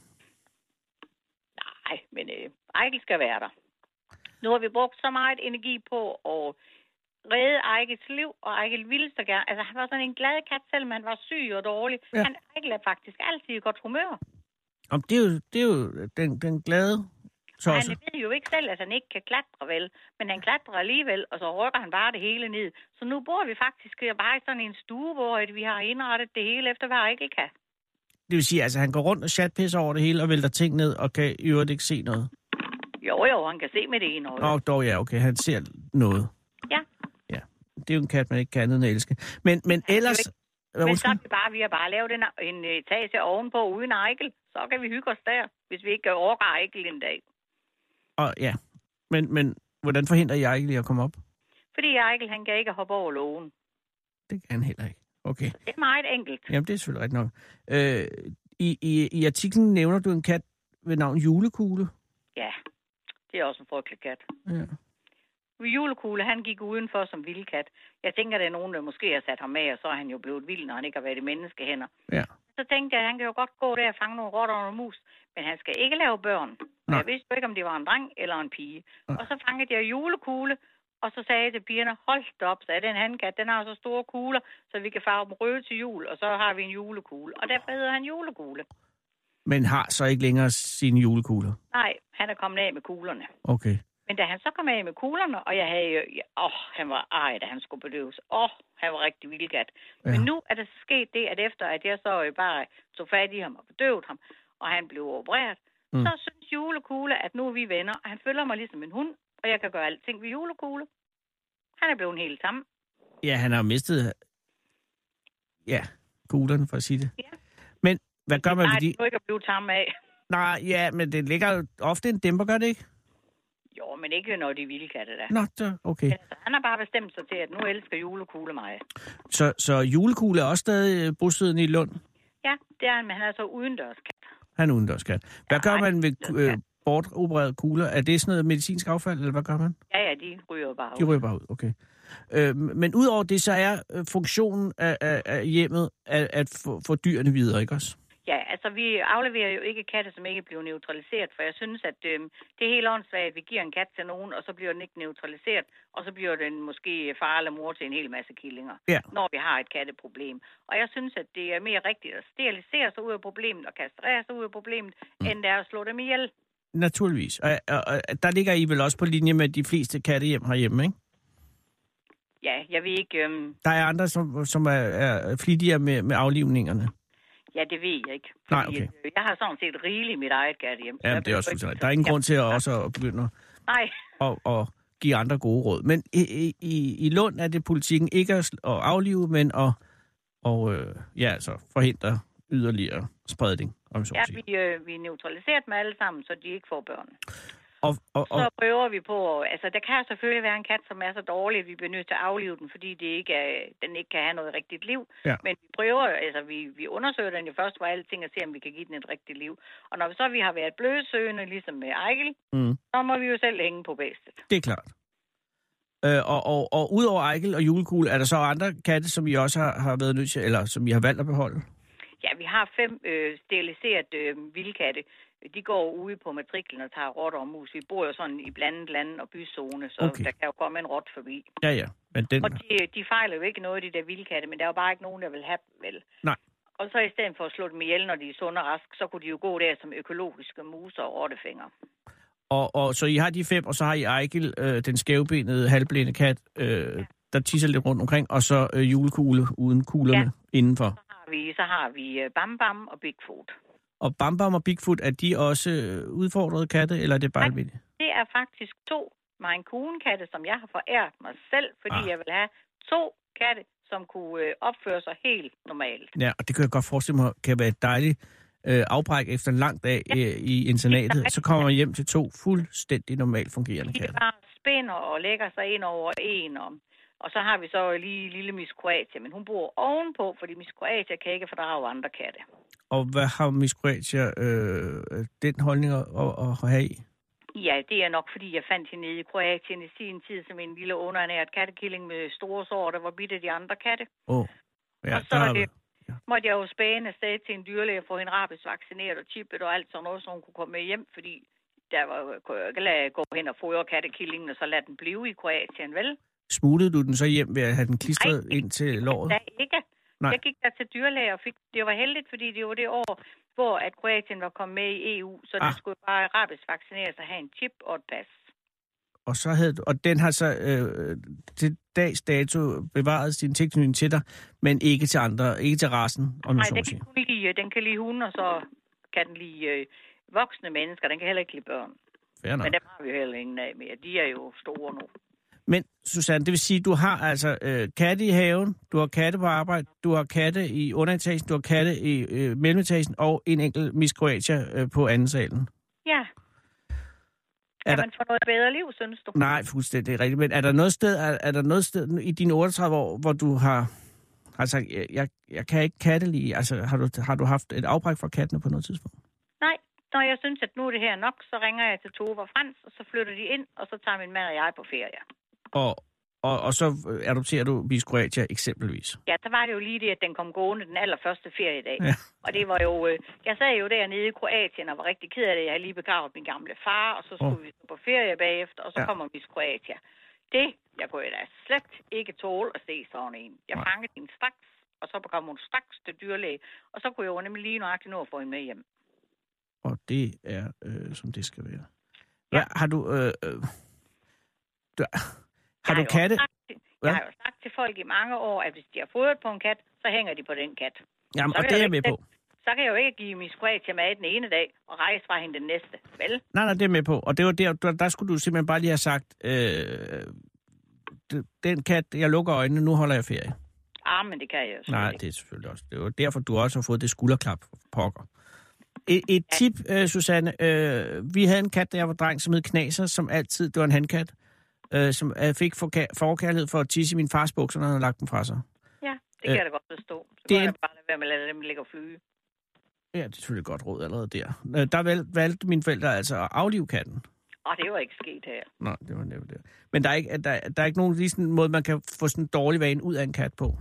G: Nej, men øh, Eichel skal være der. Nu har vi brugt så meget energi på at redde Eichels liv, og Eichel ville så gerne. Altså, han var sådan en glad kat, selvom han var syg og dårlig.
D: Ja.
G: Ja. Han, Eichel er faktisk altid i godt humør.
D: Om det er jo, det er jo den, den glade
G: Og han
D: tosse.
G: ved jo ikke selv, at han ikke kan klatre vel, men han klatrer alligevel, og så rykker han bare det hele ned. Så nu bor vi faktisk øh, bare i sådan en stue, hvor at vi har indrettet det hele efter, hvad Eichel kan.
D: Det vil sige, altså, han går rundt og chatpisser over det hele og vælter ting ned og kan i øvrigt ikke se noget.
G: Jo, jo, han kan se med det ene øje.
D: Nå, dog ja, okay, han ser noget.
G: Ja.
D: Ja, det er jo en kat, man ikke kan andet end at elske. Men, men ellers... Hvad,
G: men så
D: undskyld?
G: er vi bare, vi har bare lavet en, en etage ovenpå uden Eichel. Så kan vi hygge os der, hvis vi ikke overgår Eichel en dag.
D: Og, ja. Men, men hvordan forhindrer jeg ikke lige at komme op?
G: Fordi Eichel, han kan ikke hoppe over lågen.
D: Det kan han heller ikke. Okay,
G: Det er meget enkelt.
D: jamen det er selvfølgelig rigtigt nok. Øh, i, i, I artiklen nævner du en kat ved navn Julekugle.
G: Ja, det er også en frygtelig kat.
D: Ja.
G: Julekugle, han gik udenfor som vildkat. Jeg tænker, der er nogen, der måske har sat ham af, og så er han jo blevet vild, når han ikke har været i menneskehænder.
D: Ja.
G: Så tænkte jeg, at han kan jo godt gå der og fange nogle rotter og nogle mus, men han skal ikke lave børn. Og
D: Nej.
G: jeg vidste jo ikke, om det var en dreng eller en pige.
D: Nej.
G: Og så fangede jeg julekugle, og så sagde jeg til pigerne, hold da op, så er den handkat, den har så store kugler, så vi kan farve dem røde til jul, og så har vi en julekugle. Og derfor hedder han julekugle.
D: Men har så ikke længere sine julekugler.
G: Nej, han er kommet af med kuglerne.
D: Okay.
G: Men da han så kom af med kuglerne, og jeg havde jo... ja, Åh, oh, han var ej, da han skulle bedøves. Åh, oh, han var rigtig vildgat. Ja. Men
D: Ja.
G: nu er der sket det, at efter at jeg så jo bare tog fat i ham og bedøvede ham, og han blev opereret,
D: Mm.
G: mm. så synes julekugle, at nu er vi venner, og han følger mig ligesom en hund, og jeg kan gøre alting ved julekugle. Han er blevet helt sammen.
D: Ja, han har mistet... Ja, kuglerne, for at sige det.
G: Ja.
D: Men hvad gør man
G: Nej,
D: ved de...
G: det kunne ikke at blive sammen af.
D: Nej, ja, men det ligger jo ofte en dæmper, gør det ikke?
G: Jo, men ikke når de er vildkatte, da.
D: Nå, så- okay.
G: Men altså, han har bare bestemt sig til, at nu elsker julekugle mig.
D: Så, så julekugle er også stadig øh, bosiddende i Lund.
G: Ja, det er han, men han er så udendørs
D: Han er udendørskat. Hvad
G: Ja,
D: gør
G: ej,
D: man ved
G: det er
D: øh,
G: skat.
D: bortopererede kugler? Er det sådan noget medicinsk affald, eller hvad gør man?
G: Ja, ja, de ryger jo bare
D: De
G: ud.
D: ryger bare ud, okay. Øh, men udover det, så er øh, funktionen af, af, af hjemmet at, at få, få dyrene videre, ikke også?
G: Ja, altså vi afleverer jo ikke katte, som ikke bliver neutraliseret, for jeg synes, at øh, det er helt åndssvagt, at vi giver en kat til nogen, og så bliver den ikke neutraliseret, og så bliver den måske far eller mor til en hel masse killinger,
D: Ja.
G: når vi har et katteproblem. Og jeg synes, at det er mere rigtigt at sterilisere sig ud af problemet og kastrere sig ud af problemet, mm. end det er at slå dem ihjel.
D: Naturligvis. Og, og, og der ligger I vel også på linje med de fleste kattehjem herhjemme, ikke?
G: Ja, jeg ved ikke... Øh,
D: Der er andre, som, som er, er flittigere med, med aflivningerne.
G: ja, det ved jeg ikke.
D: Nej,
G: Fordi,
D: okay.
G: at, øh, Jeg har sådan set rigeligt mit eget kattehjem. så
D: Ja,
G: jeg
D: det er også
G: behøver ikke-
D: fuldstændig. Der er ingen grund til at også at begynde at,
G: Nej,
D: at, at give andre gode råd. Men i, i- i, i Lund er det politikken ikke at, sl- at aflive, men at og, øh, ja, altså, forhindre yderligere spredning, om jeg så
G: Ja,
D: må sige.
G: vi, øh, vi er neutraliseret med alle sammen, så de ikke får børn.
D: Og, og, og,
G: Så prøver vi på, altså der kan selvfølgelig være en kat, som er så dårlig, at vi bliver nødt til at aflive den, fordi det ikke er, den ikke kan have noget rigtigt liv.
D: Ja.
G: Men vi prøver, altså vi, vi undersøger den jo først for alle ting og ser, om vi kan give den et rigtigt liv. Og når vi så vi har været blødsøgende, ligesom med Ejkel,
D: Mm.
G: så må vi jo selv hænge på bæstet.
D: Det er klart. Øh, og, og, og udover Eichel og julekugle, er der så andre katte, som I også har, har været nødt til, eller som I har valgt at beholde?
G: Ja, vi har fem øh, steriliserede øh, vildkatte. De går ude på matriklen og tager rotter og mus. Vi bor jo sådan i blandet land og byzone, så
D: Okay.
G: okay. der kan jo komme en rot forbi.
D: Ja, ja. Men den...
G: Og de, de fejler jo ikke noget, de der vildkatte, men der er jo bare ikke nogen, der vil have dem, vel?
D: Nej.
G: Og så i stedet for at slå dem ihjel, når de er sunde og raske, så kunne de jo gå der som økologiske muser og rottefinger.
D: Og, og, så I har de fem, og så har I Eichel, øh, den skævbenede, halvblinde kat, øh, der tisser lidt rundt omkring, og så øh, julekugle uden kuglerne ja. indenfor.
G: Så har vi, så har vi øh, Bam Bam og Bigfoot.
D: Og Bam Bam og Bigfoot, er de også øh, udfordrede katte, eller er det bare
G: Nej.
D: almindelige?
G: Det er faktisk to Maine Coon-katte, som jeg har foræret mig selv, fordi
D: Ah.
G: ah. jeg vil have to katte, som kunne øh, opføre sig helt normalt.
D: Ja, og det kan jeg godt forestille mig, kan være et dejligt øh, afbræk efter en lang dag øh, i internatet. Så kommer man hjem til to fuldstændig normalt fungerende
G: De
D: katte.
G: bare spænder og lægger sig ind over en om. Og så har vi så lige lille Miss Kroatia, men hun bor ovenpå, fordi Miss Kroatia kan ikke fordrage andre katte.
D: Og hvad har Miss Croatia øh, øh, den holdning at, at, at have i?
G: Ja, det er nok, fordi jeg fandt hende nede i Kroatien i sin tid som en lille underernæret kattekilling med store sår, der var bidt af de andre katte.
D: Åh, oh, ja,
G: og så
D: der
G: er
D: har vi-
G: det, måtte jeg jo spæne afsted til en dyrlæge og få hende rabesvaccineret og chippet og alt sådan noget, så hun kunne komme med hjem, fordi der var, kunne jeg jo ikke lade gå hen og fodre kattekillingen, og så lade den blive i Kroatien, vel?
D: Smuglede du den så hjem ved at have den klistret
G: Nej.
D: ind til låret?
G: Da ikke.
D: Nej.
G: Nej. Jeg gik der til dyrlæge og fik, det var heldigt, fordi det var det år, hvor at Kroatien var kommet med i EU, så ah.
D: Ah.
G: det skulle bare rabesvaccineres og have en chip og et pas.
D: Og, så havde du, og den har så øh, til dags dato bevaret sin tilknytning til dig, men ikke til andre, ikke til resten, om jeg
G: Nej,
D: så må
G: den
D: sige.
G: kan, kun lide, den kan lide hunde, og så kan den lide øh, voksne mennesker. Den kan heller ikke lide børn.
D: Fair nok.
G: Men dem har vi jo heller ingen af mere. De er jo store nu.
D: Men Susanne, det vil sige, du har altså øh, katte i haven, du har katte på arbejde, du har katte i underetagen, du har katte i øh, mellemetagen, og en enkelt Miss Croatia øh, på anden salen.
G: Ja.
D: Er
G: Kan
D: der-
G: man få noget bedre liv, synes du?
D: Nej, fuldstændig rigtigt. Men er der noget sted, er, er der noget sted i dine 38 år, hvor du har, har sagt, jeg, jeg, jeg kan ikke katte lige? Altså, har du, har du haft et afbræk fra kattene på noget tidspunkt?
G: Nej. Når jeg synes, at nu er det her nok, så ringer jeg til Tove og Frans, og så flytter de ind, og så tager min mand og jeg på ferie.
D: Og, og, og så øh, adopterer du Miss Croatia eksempelvis.
G: Ja, så var det jo lige det, at den kom gående den allerførste feriedag.
D: Ja.
G: Ja. Og det var jo... Øh, jeg sad jo dernede i Kroatien og var rigtig ked af det. Jeg havde lige begravet min gamle far, og så skulle
D: Åh.
G: oh. vi på ferie bagefter, og så
D: Ja.
G: ja. kommer vi til Kroatia. Det, jeg kunne da slet ikke tåle at se sådan en. Jeg
D: Nej.
G: fangede hende straks, og så kom hun straks til dyrlæge, og så kunne jeg jo nemlig lige nøjagtigt nå at få hende med hjem.
D: Og det er, øh, som det skal være. Hvad, har du... Øh, øh, du har
G: Jeg
D: du
G: jo
D: katte?
G: sagt til-
D: Hvad?
G: Jeg har jo sagt til folk i mange år, at hvis de har fodret på en kat, så hænger de på den kat.
D: Jamen,
G: så
D: og
G: vil
D: det er
G: jeg
D: jeg med på.
G: ikke- Så kan jeg jo ikke give min Kroatia mad den ene dag, og rejse fra hende den næste. Vel?
D: Nej, nej, det er jeg med på. Og det var der, der, der skulle du simpelthen bare lige have sagt, øh, d- den kat, jeg lukker øjnene, nu holder jeg ferie.
G: Ah, men det kan jeg jo selvfølgelig
D: Nej,
G: ikke.
D: det er selvfølgelig også. Det er jo derfor, du også har fået det skulderklap for pokker. Et, et tip, øh, Susanne. Øh, vi havde en kat, da jeg var dreng, som hed Knaser, som altid, det var en handkat, øh, som øh, fik forka- forkærlighed for at tisse i min fars bukser, når han havde lagt dem fra sig.
G: Ja, det
D: Øh,
G: kan jeg da godt forstå. Så
D: det
G: det
D: er-
G: kan jeg bare lade være med at lade dem ligge og flyve.
D: Ja, det er selvfølgelig et godt råd allerede der. Øh, der valg, valgte mine forældre altså at aflive katten.
G: Og Ah, det var ikke sket her.
D: Nej, det var nemlig det. Men der er ikke, der, der er ikke nogen lige sådan en måde, man kan få sådan en dårlig vane ud af en kat på.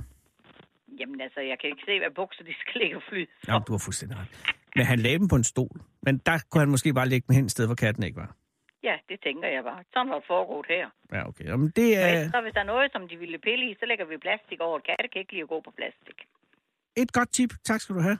G: Jamen altså, jeg kan ikke se, hvad bukser de skal ligge og flyde.
D: Jamen, du har fuldstændig ret. Men han lagde dem på en stol. Men der kunne han måske bare lægge dem hen et sted, hvor katten ikke var.
G: Ja, det tænker jeg bare. Sådan var det foregået her.
D: Ja, okay. Jamen, det
G: Og
D: er
G: ellers så hvis der er noget, som de ville pille i, så lægger vi plastik over. Katte kan ikke lide at gå på plastik.
D: et godt tip. Tak skal du have.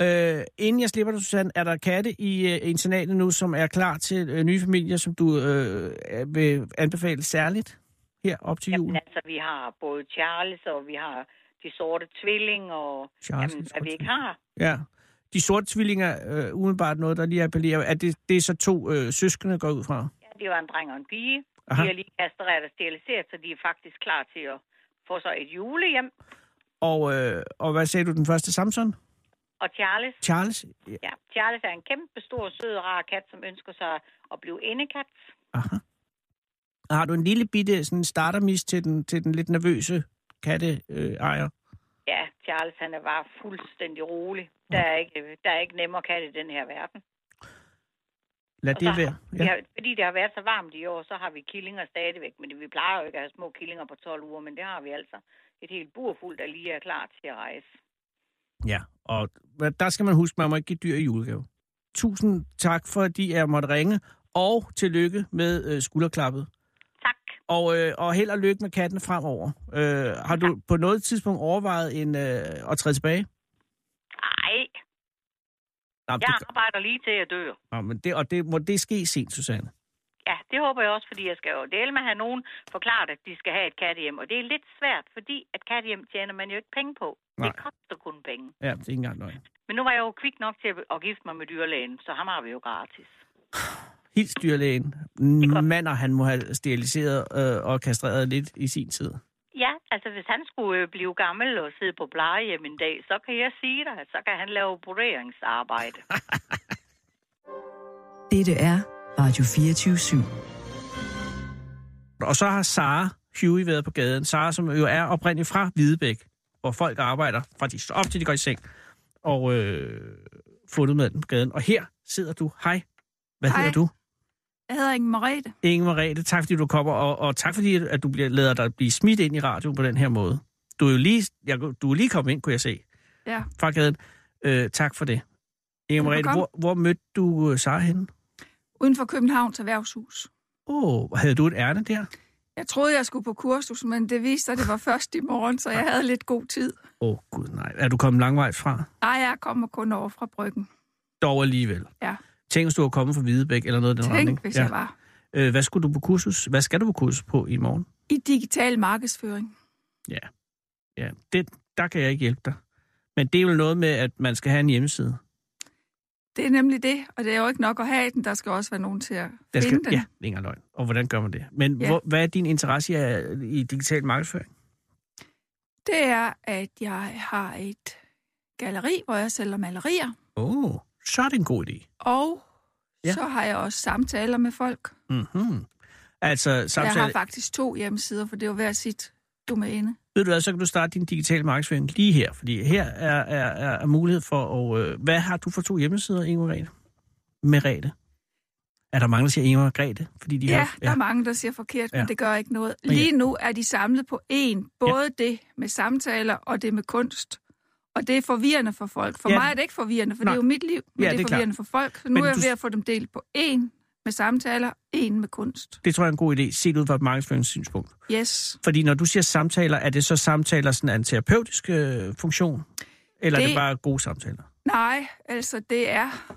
D: Øh, inden jeg slipper dig, Susanne, er der katte i øh, internatet nu, som er klar til øh, nye familier, som du øh, er- vil anbefale særligt her op til jul?
G: Jamen altså, vi har både Charles, og vi har de sorte tvillinger, og
D: Charles,
G: jamen,
D: de
G: hvad vi
D: sorte
G: ikke har.
D: Ja. De sorte tvillinger, øh, udenbart noget, der lige appellerer. Er det, det er så to øh, søskende, går jeg ud fra?
G: Ja, det var en dreng og en pige.
D: Aha.
G: De er lige kastreret og steriliseret, så de er faktisk klar til at få sig et julehjem.
D: Og, øh, og hvad sagde du, den første Samson?
G: Og Charles,
D: Charles? Ja.
G: ja, Charles er en kæmpe stor, sød, rar kat, som ønsker sig at blive indekat.
D: Aha. Og Har du en lille bitte sådan startermis til den, til den lidt nervøse katteejer? Øh, ejer?
G: Ja, Charles han er bare fuldstændig rolig. Der er ikke, der er ikke nemmere kat i den her verden.
D: Lad
G: Og
D: det
G: så-
D: være. Ja.
G: Ja. Ja, fordi det har været så varmt i år, så har vi killinger stadigvæk. Men det- vi plejer jo ikke at have små killinger på 12 uger, men det har vi altså. Et helt bur fuldt, der lige er klar til at rejse.
D: ja. Og hvad- der skal man huske, man må ikke give dyr i julegave. Tusind tak, fordi jeg måtte ringe. Og tillykke med øh, skulderklappet.
G: Tak.
D: Og, øh, og held og lykke med katten fremover. Øh, har du på noget tidspunkt overvejet en, øh, at træde tilbage?
G: Ej,
D: Nej,
G: jeg
D: det,
G: arbejder lige til jeg dør.
D: nå, men det, og det, må det ske sent, Susanne?
G: Ja, det håber jeg også, fordi jeg skal jo dele med at have nogen forklaret, at de skal have et kattehjem. Og det er lidt svært, fordi at kattehjem tjener man jo ikke penge på.
D: Nej.
G: Det koster kun penge.
D: Ja, det er ikke engang løgn.
G: Men nu var jeg jo kvik nok til at- at gifte mig med dyrlægen, så ham har vi jo gratis.
D: Hils dyrlægen.
G: godt.
D: Mander, han må have steriliseret øh, og kastreret lidt i sin tid.
G: Ja, altså hvis han skulle øh, blive gammel og sidde på plejehjem en dag, så kan jeg sige dig, at så kan han lave broderingsarbejde.
A: Dette er Radio 24 /7.
D: Og så har Sara Huey været på gaden. Sara, som jo er oprindeligt fra Hvidebæk, hvor folk arbejder fra de står op til de går i seng. Og øh, fundet med den på gaden. Og her sidder du. Hej. Hvad
H: Hej.
D: hedder du?
H: Jeg hedder Inge Marete.
D: Inge Marete, tak fordi du kommer, og, og tak fordi, at du bliver, lader dig blive smidt ind i radioen på den her måde. Du er jo lige, jeg, du er lige kommet ind, kunne jeg se,
H: Ja.
D: fra gaden. Øh, tak for det. Inge Marete,
H: Velbekomme.
D: hvor, hvor mødte du øh, Sara henne?
H: Uden for Københavns Erhvervshus.
D: Åh, oh, havde du et ærne der?
H: Jeg troede, jeg skulle på kursus, men det viste sig, at det var først i morgen, så jeg havde lidt god tid.
D: Åh oh, gud nej, er du kommet langvejs fra?
H: Nej, jeg kommer kun over fra bryggen.
D: Dog alligevel.
H: Ja.
D: Tænk, hvis du var kommet fra Hvidebæk eller noget i den retning.
H: Tænk, hvis jeg var.
D: Øh, hvad skulle du på kursus? Hvad skal du på kursus på i morgen?
H: I digital markedsføring.
D: Ja, det, der kan jeg ikke hjælpe dig. Men det er vel noget med, at man skal have en hjemmeside.
H: Det er nemlig det, og det er jo ikke nok at have den. Der skal også være nogen til at
D: Der
H: finde
D: skal,
H: den.
D: ja, det er ingen løgn. Og hvordan gør man det? Men ja.
H: Ja.
D: hvor, hvad er din interesse i, øh, i digital markedsføring?
H: Det er, at jeg har et galleri, hvor jeg sælger malerier,
D: Åh, oh, så er det en god idé.
H: og
D: Ja.
H: ja. så har jeg også samtaler med folk.
D: Mm-hmm. Altså,
H: Samtale. Jeg har
D: samtidig,
H: faktisk to hjemmesider, for det er jo hver sit domæne.
D: ved du hvad, så kan du starte din digitale markedsføring lige her, fordi her er, er, er, er mulighed for at... Øh, hvad har du for to hjemmesider, Inge Margrethe? Merete. Er der mange, der siger Inge Margrethe? Fordi de
H: Ja,
D: har,
H: der er mange, der siger forkert, men
D: Ja.
H: det gør ikke noget.
D: Men ja.
H: Lige nu er de samlet på én. Både det med samtaler og det med kunst. Og det er forvirrende for folk. For
D: Ja.
H: ja. mig er det ikke forvirrende, for
D: Nej.
H: det er jo mit liv,
D: Ja,
H: men ja, det
D: det
H: er
D: er klart.
H: forvirrende for folk. Så nu
D: Men
H: er jeg
D: du-
H: ved at få dem delt på én med samtaler, én med kunst.
D: Det tror jeg er en god idé, set ud fra et markedsføringssynspunkt.
H: Yes.
D: Fordi når du siger samtaler, er det så samtaler sådan af en terapeutisk øh, funktion? Eller det... er det
H: Det-
D: bare gode samtaler?
H: Nej, altså det er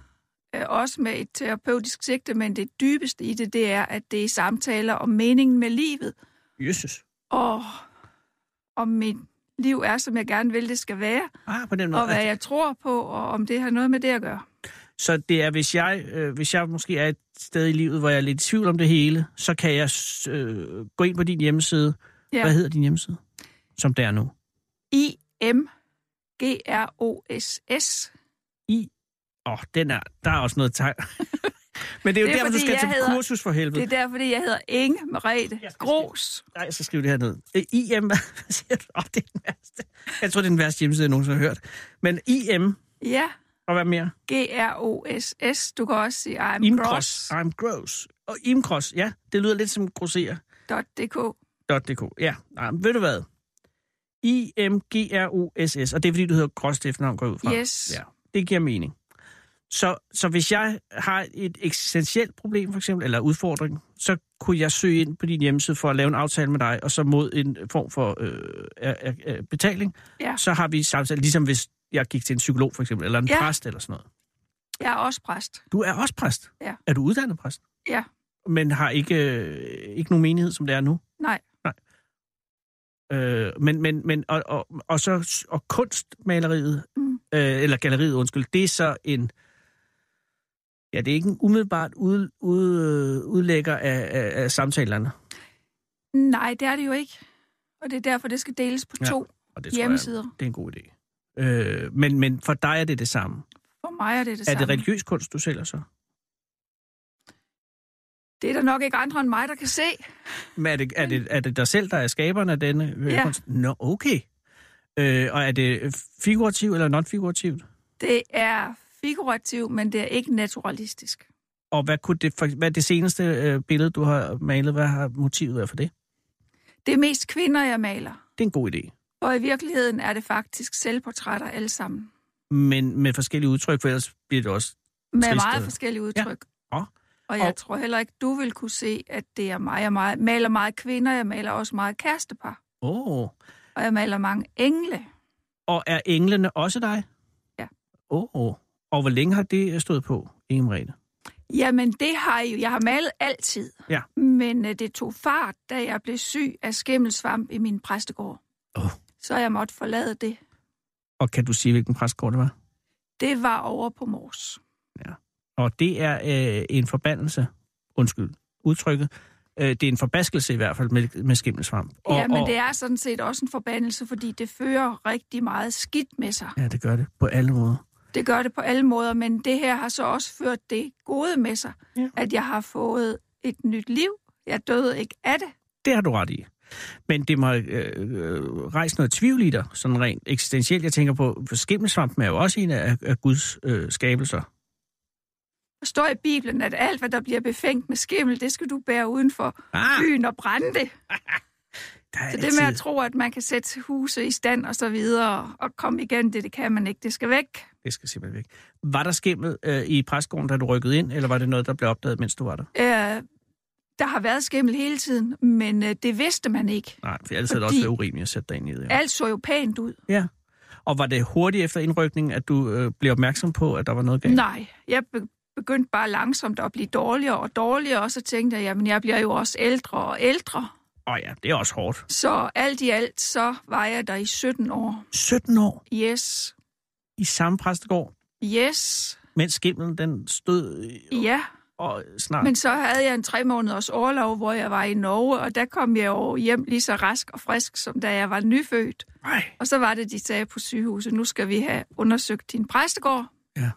H: øh, også med et terapeutisk sigte, men det dybeste i det, det er, at det er samtaler om meningen med livet.
D: Jesus.
H: Og om mit liv er, som jeg gerne vil, det skal være.
D: Ah, på den måde.
H: og hvad jeg tror på, og om det har noget med det at gøre.
D: Så det er, hvis jeg, øh, hvis jeg måske er et sted i livet, hvor jeg er lidt i tvivl om det hele, så kan jeg s- øh, gå ind på din hjemmeside. Ja.
H: Ja.
D: Hvad hedder din hjemmeside? Som det er nu.
H: I-M-G-R-O-S-S.
D: Åh, oh, den er, der er også noget tegn. Men det er jo det er,
H: Det er,
D: derfor, du
H: fordi
D: skal
H: jeg
D: til
H: hedder-
D: kursus for helvede.
H: Det er derfor, det jeg hedder Inge Merete
D: Jeg skal
H: Gros.
D: Nej, så skriv det her ned. Øh, IM, hvad siger du? Oh, det er den værste. Jeg tror, det er den værste hjemmeside, jeg nogensinde har hørt. Men IM,
H: Ja,
D: og hvad mere?
H: G-R-O-S-S. Du kan også sige I'm
D: Imcross. Ah, I'm gross. Og Imcross, ja, det lyder lidt som grosserer.
H: Gross.dk.
D: .dk. Ja, nej, men ved du hvad? I-M-G-R-O-S-S, og det er fordi, du hedder Gross til efternavn, går jeg ud fra.
H: Yes.
D: Ja, det giver mening. Så, så hvis jeg har et eksistentielt problem, for eksempel, eller udfordring, så kunne jeg søge ind på din hjemmeside for at lave en aftale med dig, og så mod en form for øh, er, er, er, betaling,
H: Ja.
D: så har vi samtale, ligesom hvis jeg gik til en psykolog, for eksempel, eller en
H: Ja.
D: præst, eller sådan noget.
H: Jeg er også præst.
D: Du er også præst.
H: Ja.
D: Er du uddannet præst?
H: Ja.
D: Men har ikke, øh, ikke nogen menighed, som det er nu?
H: Nej.
D: Nej. Øh, men, men, men og, og, og, så, og kunstmaleriet, mm.
H: Mm.
D: øh, eller galleriet, undskyld, det er så en, Ja, det er ikke en umiddelbart ud, ud, øh, udlægger af, af, af samtalerne.
H: Nej, det er det jo ikke. Og det er derfor, det skal deles på
D: Ja,
H: ja, to
D: Og det tror jeg,
H: hjemmesider. Jeg.
D: det er en god idé. Øh, men, men for dig er det det samme.
H: For mig er det det
D: er
H: samme.
D: det religiøs kunst, du sælger så?
H: det er der nok ikke andre end mig, der kan se.
D: Men er det, er det, er det dig selv, der er skaberen af denne øh,
H: Ja.
D: kunst? Nå, okay. Øh, og er det figurativt eller non-figurativt?
H: Det er figurativt, men det er ikke naturalistisk.
D: Og hvad, kunne det, for, hvad er det seneste øh, billede, du har malet? Hvad har motivet været for det?
H: Det er mest kvinder, jeg maler.
D: Det er en god idé.
H: Og i virkeligheden er det faktisk selvportrætter alle sammen.
D: Men med forskellige udtryk, for ellers bliver det også...
H: Med
D: Trist,
H: meget
D: øh.
H: forskellige udtryk.
D: Nå.
H: Og jeg
D: Og-
H: tror heller ikke, du vil kunne se, at det er mig. Jeg meget- maler meget kvinder, jeg maler også meget kærestepar.
D: Åh. Oh.
H: Og jeg maler mange engle.
D: Og er englene også dig?
H: Ja.
D: Åh. Oh. Og hvor længe har det øh, stået på, Inge Marene?
H: Jamen, det har jeg jo. Jeg har malet altid.
D: Ja.
H: Men øh, det tog fart, da jeg blev syg af skimmelsvamp i min præstegård.
D: Åh.
H: Så jeg måtte forlade det.
D: Og kan du sige, hvilken præstkort det var?
H: Det var over på Mors.
D: Og det er øh, en forbandelse, undskyld udtrykket, øh, det er en forbaskelse i hvert fald med, med skimmelsvamp.
H: Og, ja, men det er sådan set også en forbandelse, fordi det fører rigtig meget skidt med sig.
D: Ja, det gør det på alle måder.
H: Det gør det på alle måder, men det her har så også ført det gode med sig,
D: Ja.
H: ja. at jeg har fået et nyt liv. Jeg døde ikke af det.
D: Det har du ret i. Men det må øh, øh, rejse noget tvivl i dig, sådan rent eksistentielt. Jeg tænker på, for skimmelsvampen er jo også en af, af Guds øh, skabelser.
H: Der står i Bibelen, at alt, hvad der bliver befængt med skimmel, det skal du bære uden for
D: Ah,
H: byen og brænde det.
D: der er
H: Så det
D: altid-
H: med at tro, at man kan sætte huse i stand og så videre og komme igen, det, det kan man ikke. Det skal væk.
D: Det skal simpelthen væk. Var der skimmel øh, i præstgården, da du rykkede ind, eller var det noget, der blev opdaget, mens du var der?
H: Øh, der har været skimmel hele tiden, men øh, det vidste man ikke.
D: Nej, for ellers havde det
H: Fordi-
D: også været urimeligt at sætte dig ind i det. Ja.
H: Alt så jo pænt ud.
D: Og var det hurtigt efter indrykningen, at du øh, blev opmærksom på, at der var noget galt?
H: Nej, jeg be- begyndte bare langsomt at blive dårligere og dårligere, og så tænkte jeg, jamen jeg bliver jo også ældre og ældre.
D: Åh oh, ja, det er også hårdt.
H: Så alt i alt, så var jeg der i 17 år.
D: 17 år
H: Yes,
D: i samme præstegård,
H: yes,
D: mens skimmelen den stod øh,
H: ja.
D: og snart...
H: Men så havde jeg en tre måneders orlov, hvor jeg var i Norge, og der kom jeg jo hjem lige så rask og frisk, som da jeg var nyfødt.
D: Nej.
H: Og så var det, de sagde på sygehuset, nu skal vi have undersøgt din præstegård.
D: Ja.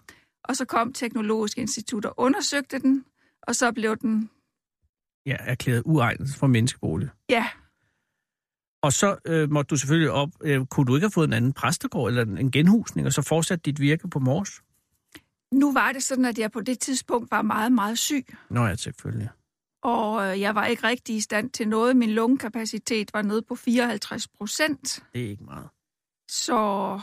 H: Og så kom Teknologisk Institut og undersøgte den, og så blev den,
D: Ja, erklæret uegnet for menneskebolig.
H: ja,
D: Og så øh, måtte du selvfølgelig op... Øh, kunne du ikke have fået en anden præstegård eller en genhusning, og så fortsat dit virke på Mors?
H: nu var det sådan, at jeg på det tidspunkt var meget, meget syg.
D: Nå ja, selvfølgelig.
H: Og øh, jeg var ikke rigtig i stand til noget. Min lungekapacitet var nede på 54 procent.
D: Det er ikke meget.
H: Så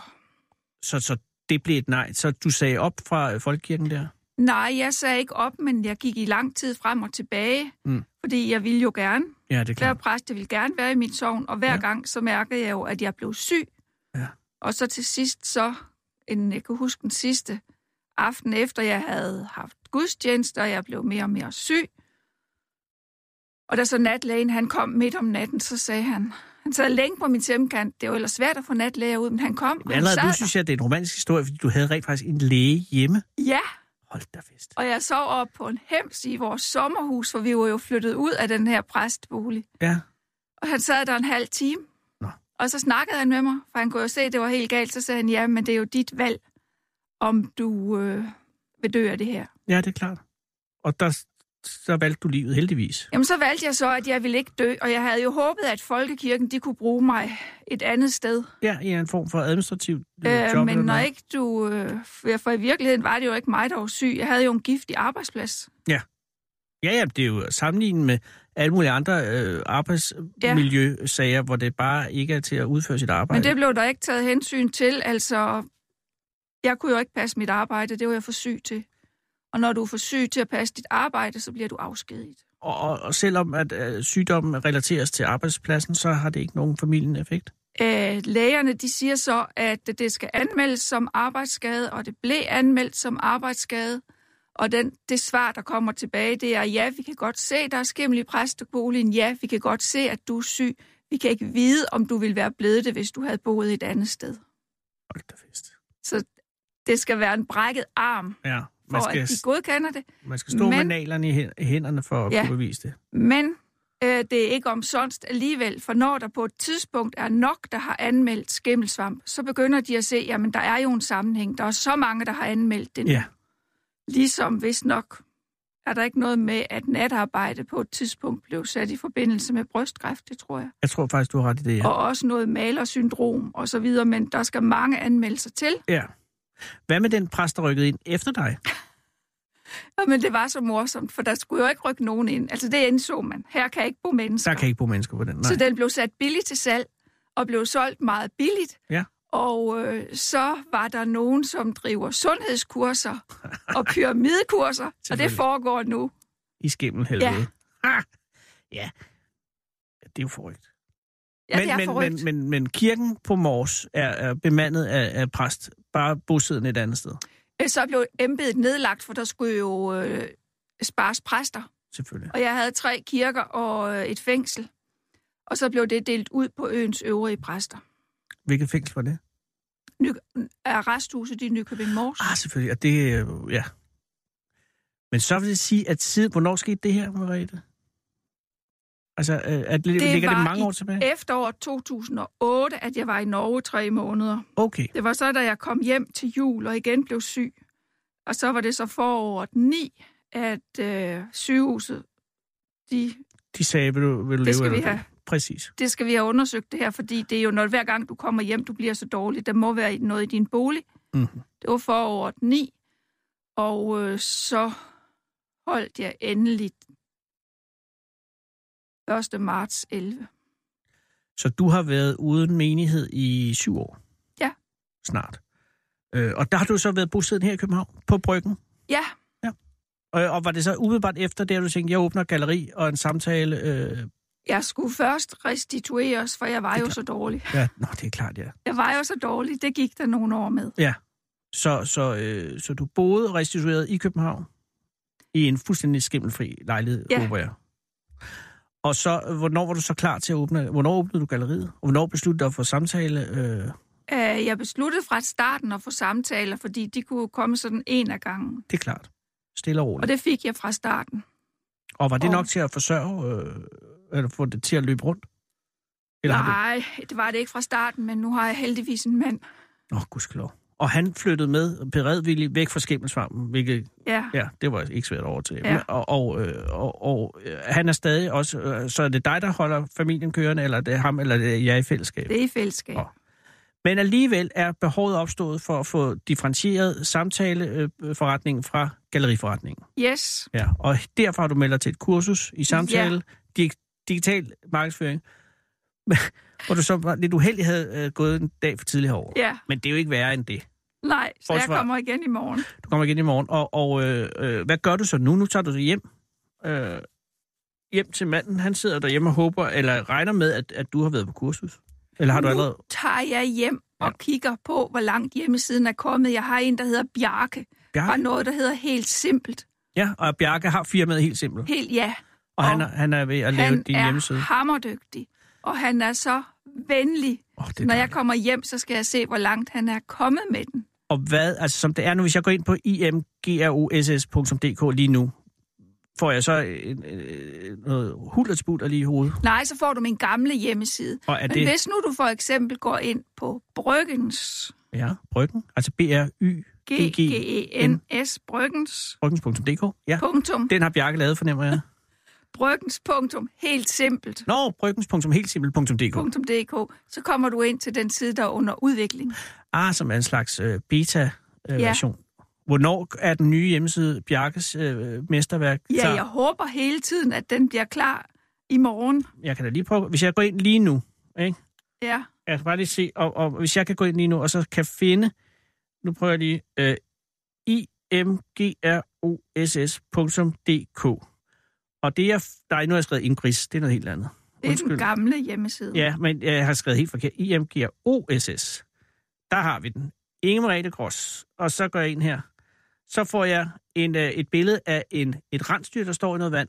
D: Så, så det blev et nej. Så du sagde op fra øh, folkekirken der?
H: nej, jeg sagde ikke op, men jeg gik i lang tid frem og tilbage.
D: Mm.
H: Fordi jeg ville jo gerne.
D: Ja, det er
H: Hver
D: klart.
H: præst jeg ville gerne være i mit sogn. Og hver
D: Ja.
H: ja. gang, så mærkede jeg jo, at jeg blev syg.
D: Ja.
H: Og så til sidst, så en, jeg kan huske den sidste aften, efter jeg havde haft gudstjeneste, og jeg blev mere og mere syg. Og da så natlægen han kom midt om natten, så sagde han, han sad længe på min sengekant. Det var ellers svært at få natlæger ud, men han kom. og
D: Men
H: han
D: allerede
H: sad
D: nu synes jeg, at det er en romantisk historie, fordi du havde rent faktisk en læge hjemme.
H: der. Ja,
D: Hold da fest.
H: og jeg sov op på en hems i vores sommerhus, for vi var jo flyttet ud af den her præstbolig.
D: Ja.
H: Og han sad der en halv time.
D: Nå.
H: Og så snakkede han med mig, for han kunne jo se, at det var helt galt. Så sagde han, ja, men det er jo dit valg, om du øh, vil dø af det her.
D: Ja, det er klart. Og der, så valgte du livet heldigvis.
H: Jamen så valgte jeg så, at jeg ville ikke dø, og jeg havde jo håbet, at Folkekirken de kunne bruge mig et andet sted.
D: Ja, i en form for administrativ øh, job.
H: Øh, men
D: eller
H: når
D: noget.
H: ikke du... Øh, for for i virkeligheden var det jo ikke mig, der var syg. Jeg havde jo en giftig arbejdsplads.
D: Ja, ja, det er jo sammenlignet med alle mulige andre øh, arbejdsmiljøsager, hvor det bare ikke er til at udføre sit arbejde.
H: Men det blev der ikke taget hensyn til. Altså, jeg kunne jo ikke passe mit arbejde. Det var jeg for syg til. Og når du er for syg til at passe dit arbejde, så bliver du afskediget.
D: og, og, og selvom at øh, sygdommen relateres til arbejdspladsen, så har det ikke nogen familien effekt.
H: Øh, lægerne de siger så, at det skal anmeldes som arbejdsskade, og det blev anmeldt som arbejdsskade. Og den, det svar, der kommer tilbage, det er, ja, vi kan godt se, der er skimmel i præsteboligen. Ja, vi kan godt se, at du er syg. Vi kan ikke vide, om du ville være blevet det, hvis du havde boet et andet sted.
D: Hold da fest.
H: Så det skal være en brækket arm
D: Ja,
H: for
D: Man skal
H: at de
D: s-
H: godkender det.
D: Man skal stå Men... med
H: Men-
D: nalerne i hæ- i hænderne for at ja.
H: Ja.
D: kunne bevise det.
H: Men øh, det er ikke omsonst alligevel, for når der på et tidspunkt er nok, der har anmeldt skimmelsvamp, så begynder de at se, jamen der er jo en sammenhæng. Der er så mange, der har anmeldt det. nu.
D: Ja.
H: Ligesom hvis nok er der ikke noget med, at natarbejde på et tidspunkt blev sat i forbindelse med brystkræft, det tror jeg.
D: Jeg tror faktisk, du har ret i det, ja.
H: Ja. Og også noget malersyndrom og så videre, men der skal mange anmeldelser til.
D: ja. Hvad med den præst, der rykkede ind efter dig?
H: Ja, men det var så morsomt, for der skulle jo ikke rykke nogen ind. Altså det indså man. Her kan ikke bo mennesker.
D: Der kan ikke bo mennesker på den. Nej.
H: Så den blev sat billigt til salg, og blev solgt meget billigt.
D: Ja.
H: Og øh, så var der nogen, som driver sundhedskurser og pyramidekurser, og det
D: Selvfølgelig.
H: foregår nu.
D: I skimmelhelvede.
H: Ja.
D: Ha! ja. Ja, Det er jo forrygt.
H: Ja, det er
D: men,
H: forrygt.
D: men, men, men kirken på Mors er, er bemandet af, af præst, bare bosiddende et andet sted,
H: Øh, Så blev embedet nedlagt, for der skulle jo øh, spares præster.
D: selvfølgelig.
H: Og jeg havde tre kirker og øh, et fængsel. Og så blev det delt ud på øens øvrige præster.
D: Hvilket fængsel var det?
H: Ny, er resthuset i Nykøbing Mors?
D: Ah, selvfølgelig. Og det, øh, ja. Men så vil det sige, at siden... Hvornår skete det her, Mariette? Altså, øh, at, det ligger det
H: var
D: mange
H: i
D: år tilbage?
H: Efteråret 2008, at jeg var i Norge tre måneder.
D: Okay.
H: Det var så, da jeg kom hjem til jul og igen blev syg. Og så var det så foråret 9, at øh, sygehuset, de,
D: De sagde, vil du, vil du
H: det,
D: leve
H: skal vi
D: eller dø?
H: have,
D: Præcis.
H: det skal vi have undersøgt det her, fordi det er jo noget, hver gang du kommer hjem, du bliver så dårlig. Der må være noget i din bolig.
D: Mhm.
H: Det var foråret 9, og øh, så holdt jeg endelig 1. marts 11.
D: Så du har været uden menighed i syv år?
H: Ja.
D: Snart. Øh, og der har du så været bosiddende her i København, på Bryggen.
H: Ja,
D: Og, og var det så umiddelbart efter det, at du tænkte, jeg åbner et galleri og en samtale? Øh,
H: jeg skulle først restitueres, for jeg var jo så dårlig.
D: ja, nå, det er klart, ja.
H: Jeg var jo så dårlig, det gik der nogle år med.
D: Så, så, øh, så du boede og restituerede i København i en fuldstændig skimmelfri lejlighed,
H: Ja.
D: håber jeg. Og så, øh, hvornår var du så klar til at åbne? Hvornår åbnede du galleriet? Og hvornår besluttede du dig for samtale? Øh,
H: Øh, Jeg besluttede fra starten at få samtaler, fordi de kunne komme sådan en af gangen.
D: det er klart. Stille og roligt.
H: Og det fik jeg fra starten.
D: Og var det
H: Og-
D: nok til at forsørge, øh, eller få det til at løbe rundt? Eller har
H: Nej, det var det ikke fra starten, men nu har jeg heldigvis en mand.
D: du... Nå, gudskelov. Og han flyttede med beredvilligt væk fra skimmelsvampen, hvilket,
H: Ja,
D: ja, det var ikke svært at overtage.
H: Ja.
D: Men- Og, og, øh, og, og øh, han er stadig også, øh, så er det dig, der holder familien kørende, eller det er ham, eller det er jer i fællesskab?
H: det er i fællesskab.
D: Nå. Men alligevel er behovet opstået for at få differentieret samtaleforretningen fra galleriforretningen.
H: Yes,
D: Ja, og derfor har du meldt dig til et kursus i samtale, ja. dig- digital markedsføring, hvor du så var lidt uheldig havde øh, gået en dag for tidligt herover.
H: ja,
D: Men det er jo ikke værre end det.
H: nej, så jeg
D: Forsvar.
H: kommer igen i morgen.
D: Du kommer igen i morgen, og, og øh, øh, hvad gør du så nu? Nu tager du så hjem, øh, hjem til manden. Han sidder derhjemme og håber, eller regner med, at, at du har været på kursus. Eller har du
H: nu
D: allerede...
H: tager jeg hjem og kigger på, hvor langt hjemmesiden er kommet. Jeg har en, der hedder Bjarke, og
D: Bjarke?
H: noget, der hedder Helt Simpelt.
D: Ja, og Bjarke har firmaet helt simpelt.
H: Helt ja,
D: Og han, er-
H: og
D: han er ved at lave
H: han
D: din
H: er
D: hjemmeside.
H: hammerdygtig, og han er så venlig.
D: Oh, det er
H: Når jeg
D: dejligt.
H: kommer hjem, så skal jeg se, hvor langt han er kommet med den.
D: Og hvad, altså som det er nu, hvis jeg går ind på imgross.dk lige nu, får jeg så en, øh, noget hullersputter lige i hovedet.
H: Nej, så får du min gamle hjemmeside.
D: Og er
H: Men
D: det,
H: hvis nu du for eksempel går ind på Bryggens,
D: ja, bryggen, altså bry,
H: E. G-G-E-N-S, Bryggens,
D: bryggens.dk, E ja.
H: punktum,
D: Den har Bjarke lavet, fornemmer jeg.
H: Bryggens, punktum, helt simpelt,
D: Nå, bryggens.heltsimpel.dk.
H: punktum DK, så kommer du ind til den side, der er under udvikling.
D: Ah, som er en slags øh, beta-version. Øh,
H: Ja.
D: version. Hvornår er den nye hjemmeside Bjarkes øh, mesterværk
H: Ja,
D: klar?
H: jeg håber hele tiden, at den bliver klar i morgen.
D: Jeg kan da lige prøve, hvis jeg går ind lige nu, ikke?
H: Ja,
D: Jeg skal bare lige se, og, og hvis jeg kan gå ind lige nu, og så kan finde, nu prøver jeg lige, øh, imgross.dk. Og det jeg, nej, nu har jeg skrevet ingris, det er noget helt andet.
H: det er den gamle hjemmeside.
D: Ja, men jeg har skrevet helt forkert. IMGROSS. Der har vi den. Inge Merete Gross. Og så går jeg ind her. Så får jeg en, øh, et billede af en, et rensdyr, der står i noget vand.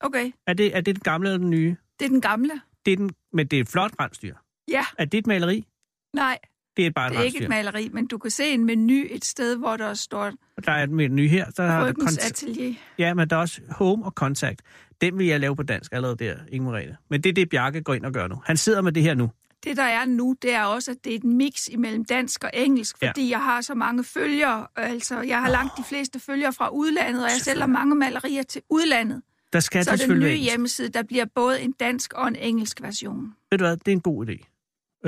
H: Okay,
D: Er det, er det den gamle eller den nye?
H: det er den gamle.
D: Det er den, men det er et flot rensdyr.
H: Ja,
D: Er det et maleri?
H: nej,
D: Det er bare
H: Det
D: et
H: er ikke et
D: rensdyr.
H: maleri, men du kan se en menu et sted, hvor der står
D: Der er et menu her. Der har
H: Ryggens
D: kont-
H: Atelier.
D: ja, men der er også home og contact. Den vil jeg lave på dansk allerede der, Inge Merete. Men det er det, Bjarke går ind og gør nu. Han sidder med det her nu.
H: Det, der er nu, det er også, at det er et mix imellem dansk og engelsk,
D: Ja.
H: fordi jeg har så mange følgere. Altså, jeg har langt de fleste følgere fra udlandet, og jeg sælger mange malerier til udlandet.
D: Der skal
H: så
D: det
H: den nye
D: selvfølgelig være engelsk.
H: hjemmeside, der bliver både en dansk og en engelsk version.
D: Ved du hvad, det er en god idé.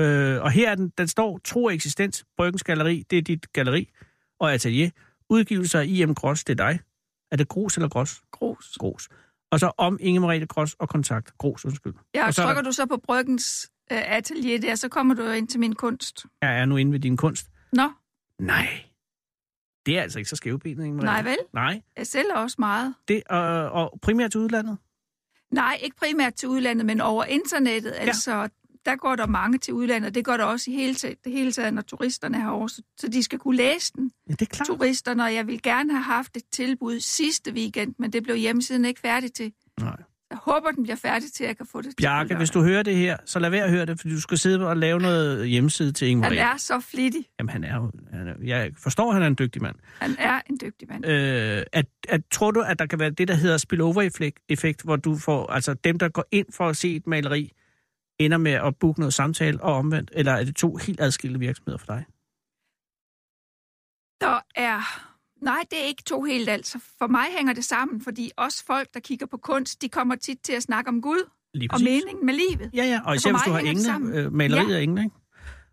D: Øh, og her er den, den står tro og eksistens, Bryggens Galeri, det er dit galeri, og atelier. Udgivelser af I.M. Gros, det er dig. Er det Gros eller Gros?
H: Grus.
D: Gros. Og så om Inge Merete Gros og kontakt. Gros, undskyld.
H: Ja, og
D: og så er
H: trykker
D: der-
H: du så på Bryggens øh, atelier der, så kommer du jo ind til min kunst.
D: Jeg er nu inde ved din kunst.
H: Nå,
D: Nej. Det er altså ikke så skævbenet, Inge Merete.
H: Nej, vel?
D: Nej.
H: jeg sælger også meget.
D: Det, og, og primært til udlandet.
H: Nej, ikke primært til udlandet, men over internettet. Altså, der går der mange til udlandet. Det går der også i hele, ta- det hele taget, når turisterne er herovre. Så- Så de skal kunne læse den,
D: Ja, det er klart.
H: turisterne. Og jeg ville gerne have haft et tilbud sidste weekend, men det blev hjemmesiden ikke færdig til.
D: Nej.
H: Jeg håber, den bliver færdig til, at jeg kan få det til.
D: Bjarke,
H: lørdag.
D: hvis du hører det her, så lad være at høre det, for du skal sidde og lave noget hjemmeside til Inge
H: Han
D: Merete.
H: er så flittig.
D: Jamen, han er jo... Han er, jeg forstår, at han er en dygtig mand.
H: Han er en dygtig mand.
D: Øh, at, at, tror du, at der kan være det, der hedder spillover-effekt, hvor du får... Altså, dem, der går ind for at se et maleri, ender med at booke noget samtale og omvendt? Eller er det to helt adskilte virksomheder for dig?
H: Der er... Nej, det er ikke to helt altså. For mig hænger det sammen, fordi også folk, der kigger på kunst, de kommer tit til at snakke om Gud
D: Lige
H: og meningen med livet.
D: Ja, ja, og
H: Så
D: især
H: for
D: hvis du
H: mig
D: har
H: hænger det
D: engle,
H: sammen.
D: øh, maleriet
H: Ja.
D: ja. engle, ikke?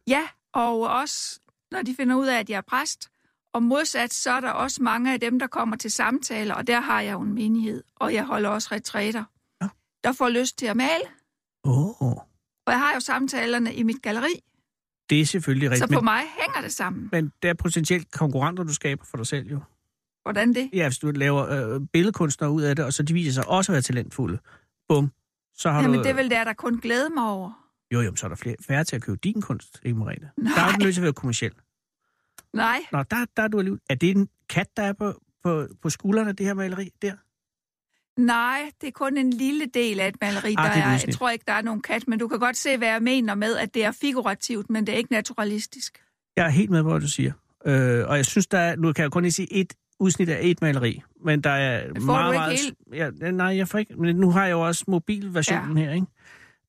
H: Ja, og også når de finder ud af, at jeg er præst. Og modsat, så er der også mange af dem, der kommer til samtaler, og der har jeg jo en menighed, og jeg holder også retræter,
D: Ja.
H: der får lyst til at male.
D: Åh, oh,
H: Og jeg har jo samtalerne i mit galleri,
D: det er selvfølgelig
H: så
D: rigtigt.
H: på
D: Men,
H: mig hænger det sammen.
D: men det er potentielt konkurrenter, du skaber for dig selv, jo.
H: Hvordan det?
D: Ja, hvis du laver øh, billedkunstnere ud af det, og så de viser sig også at være talentfulde. Bum. Så har
H: Jamen,
D: du...
H: det er vel det, jeg der kun glæde mig over.
D: Jo, jo, men så er der flere, færre til at købe din kunst, ikke Merete?
H: Nej.
D: Der er jo nødt til at være kommersiel.
H: Nej,
D: Nå, der, der er du alligevel... Er det en kat, der er på, på, på skuldrene af det her maleri der?
H: nej, det er kun en lille del af et maleri, der
D: Ah, det er et
H: er, jeg
D: udsnit.
H: tror ikke, der er nogen kat, men du kan godt se, hvad jeg mener med, at det er figurativt, men det er ikke naturalistisk.
D: Jeg er helt med på, hvad du siger. Øh, og jeg synes, der er... Nu kan jeg kun lige sige et udsnit af et maleri, men der er
H: Men får
D: meget,
H: du ikke
D: meget... Ja, nej, jeg får ikke... Men nu har jeg jo også mobilversionen her, ikke?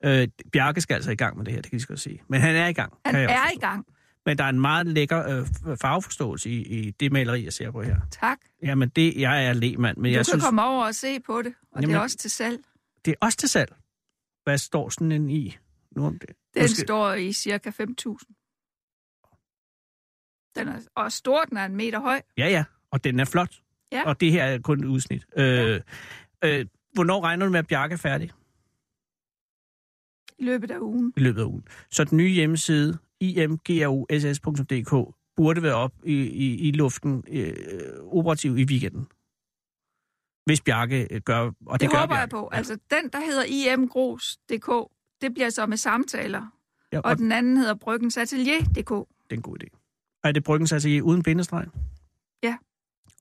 D: Øh, Bjarke skal altså i gang med det her, det kan vi godt se. Men han er i gang.
H: Han
D: kan jeg også
H: er i
D: forstå.
H: gang.
D: Men der er en meget lækker øh, farveforståelse i, i det maleri, jeg ser på her.
H: Tak.
D: Jamen, det, jeg er lemand, men
H: Du
D: jeg
H: kan
D: synes,
H: synes... komme over og se på det, og Jamen... det
D: Jamen-
H: er også til salg.
D: det er også til salg. Hvad står sådan en i? Nu om det.
H: Den
D: Måske-
H: Måske... står i cirka 5.000. Den er og stor, den er en meter høj.
D: Ja, ja, og den er flot.
H: Ja.
D: Og det her er kun et udsnit. Øh, øh, hvornår regner du med, at Bjarke er færdig
H: i løbet af ugen.
D: i løbet af ugen? Så den nye hjemmeside, imgauss.dk, burde være op i, i, i luften øh, operativ i weekenden. Hvis Bjarke øh, gør, og det,
H: Det, det
D: gør
H: håber
D: Bjarke.
H: jeg på. Altså, den, der hedder imgros.dk, det bliver så med samtaler.
D: ja, og
H: Og den anden hedder bryggensatelier.dk.
D: Det er en god idé. Og er det bryggens atelier uden bindestreg?
H: Ja.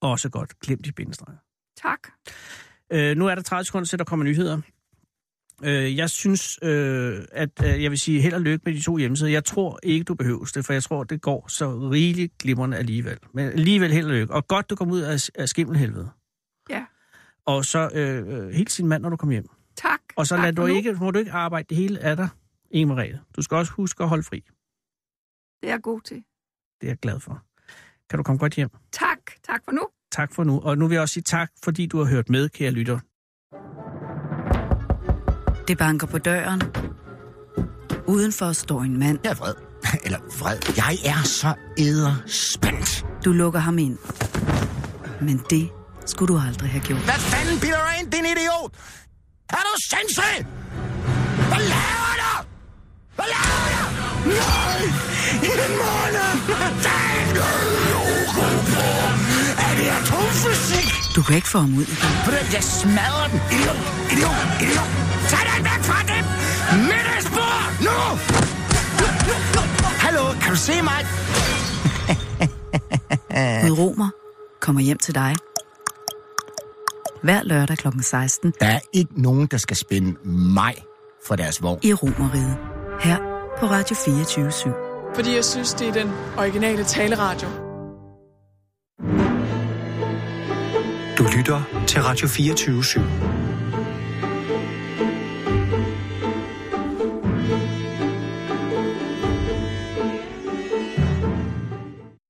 D: Også godt. Glem de bindestreger.
H: Tak.
D: Øh, nu er der 30 sekunder til, der kommer nyheder. Øh, jeg synes, øh, at øh, jeg vil sige held og lykke med de to hjemmesider. Jeg tror ikke, du behøver det, for jeg tror, det går så rigeligt glimrende alligevel. Men alligevel held og lykke. Og godt, du kom ud af, af skimmelhelvede.
H: Ja.
D: Og så øh, øh, helt sin mand, når du kommer hjem.
H: Tak.
D: Og så
H: tak
D: lad
H: for
D: du
H: nu.
D: ikke, må du ikke arbejde det hele af dig, Inge Merete. Du skal også huske at holde fri.
H: Det er jeg god til.
D: Det er jeg glad for. Kan du komme godt hjem?
H: Tak. Tak for nu.
D: tak for nu. Og nu vil jeg også sige tak, fordi du har hørt med, kære lytter.
A: Det banker på døren. Udenfor står en mand.
I: Jeg er vred. Eller vred. Jeg er så æderspændt.
A: Du lukker ham ind. Men det skulle du aldrig have gjort.
I: Hvad fanden bilder du ind, din idiot? Er du sindssyg? Hvad laver du? Hvad laver du? Nej! En måned! Der er ikke logo på! Er det atomfysik?
A: Du kan ikke få ham ud igen.
I: Ved du hvad, Jeg smadrer den! Idiot! Idiot! Idiot! Tag den væk fra dem! Middagsbord! Nu! Hallo, kan du se mig?
A: Gud Romer kommer hjem til dig. Hver lørdag kl. 16
I: Der er ikke nogen, der skal spænde mig for deres vogn.
A: i Romerriget. Her på Radio 24 /7.
J: fordi jeg synes, det er den originale taleradio.
E: Du lytter til Radio 24 /7.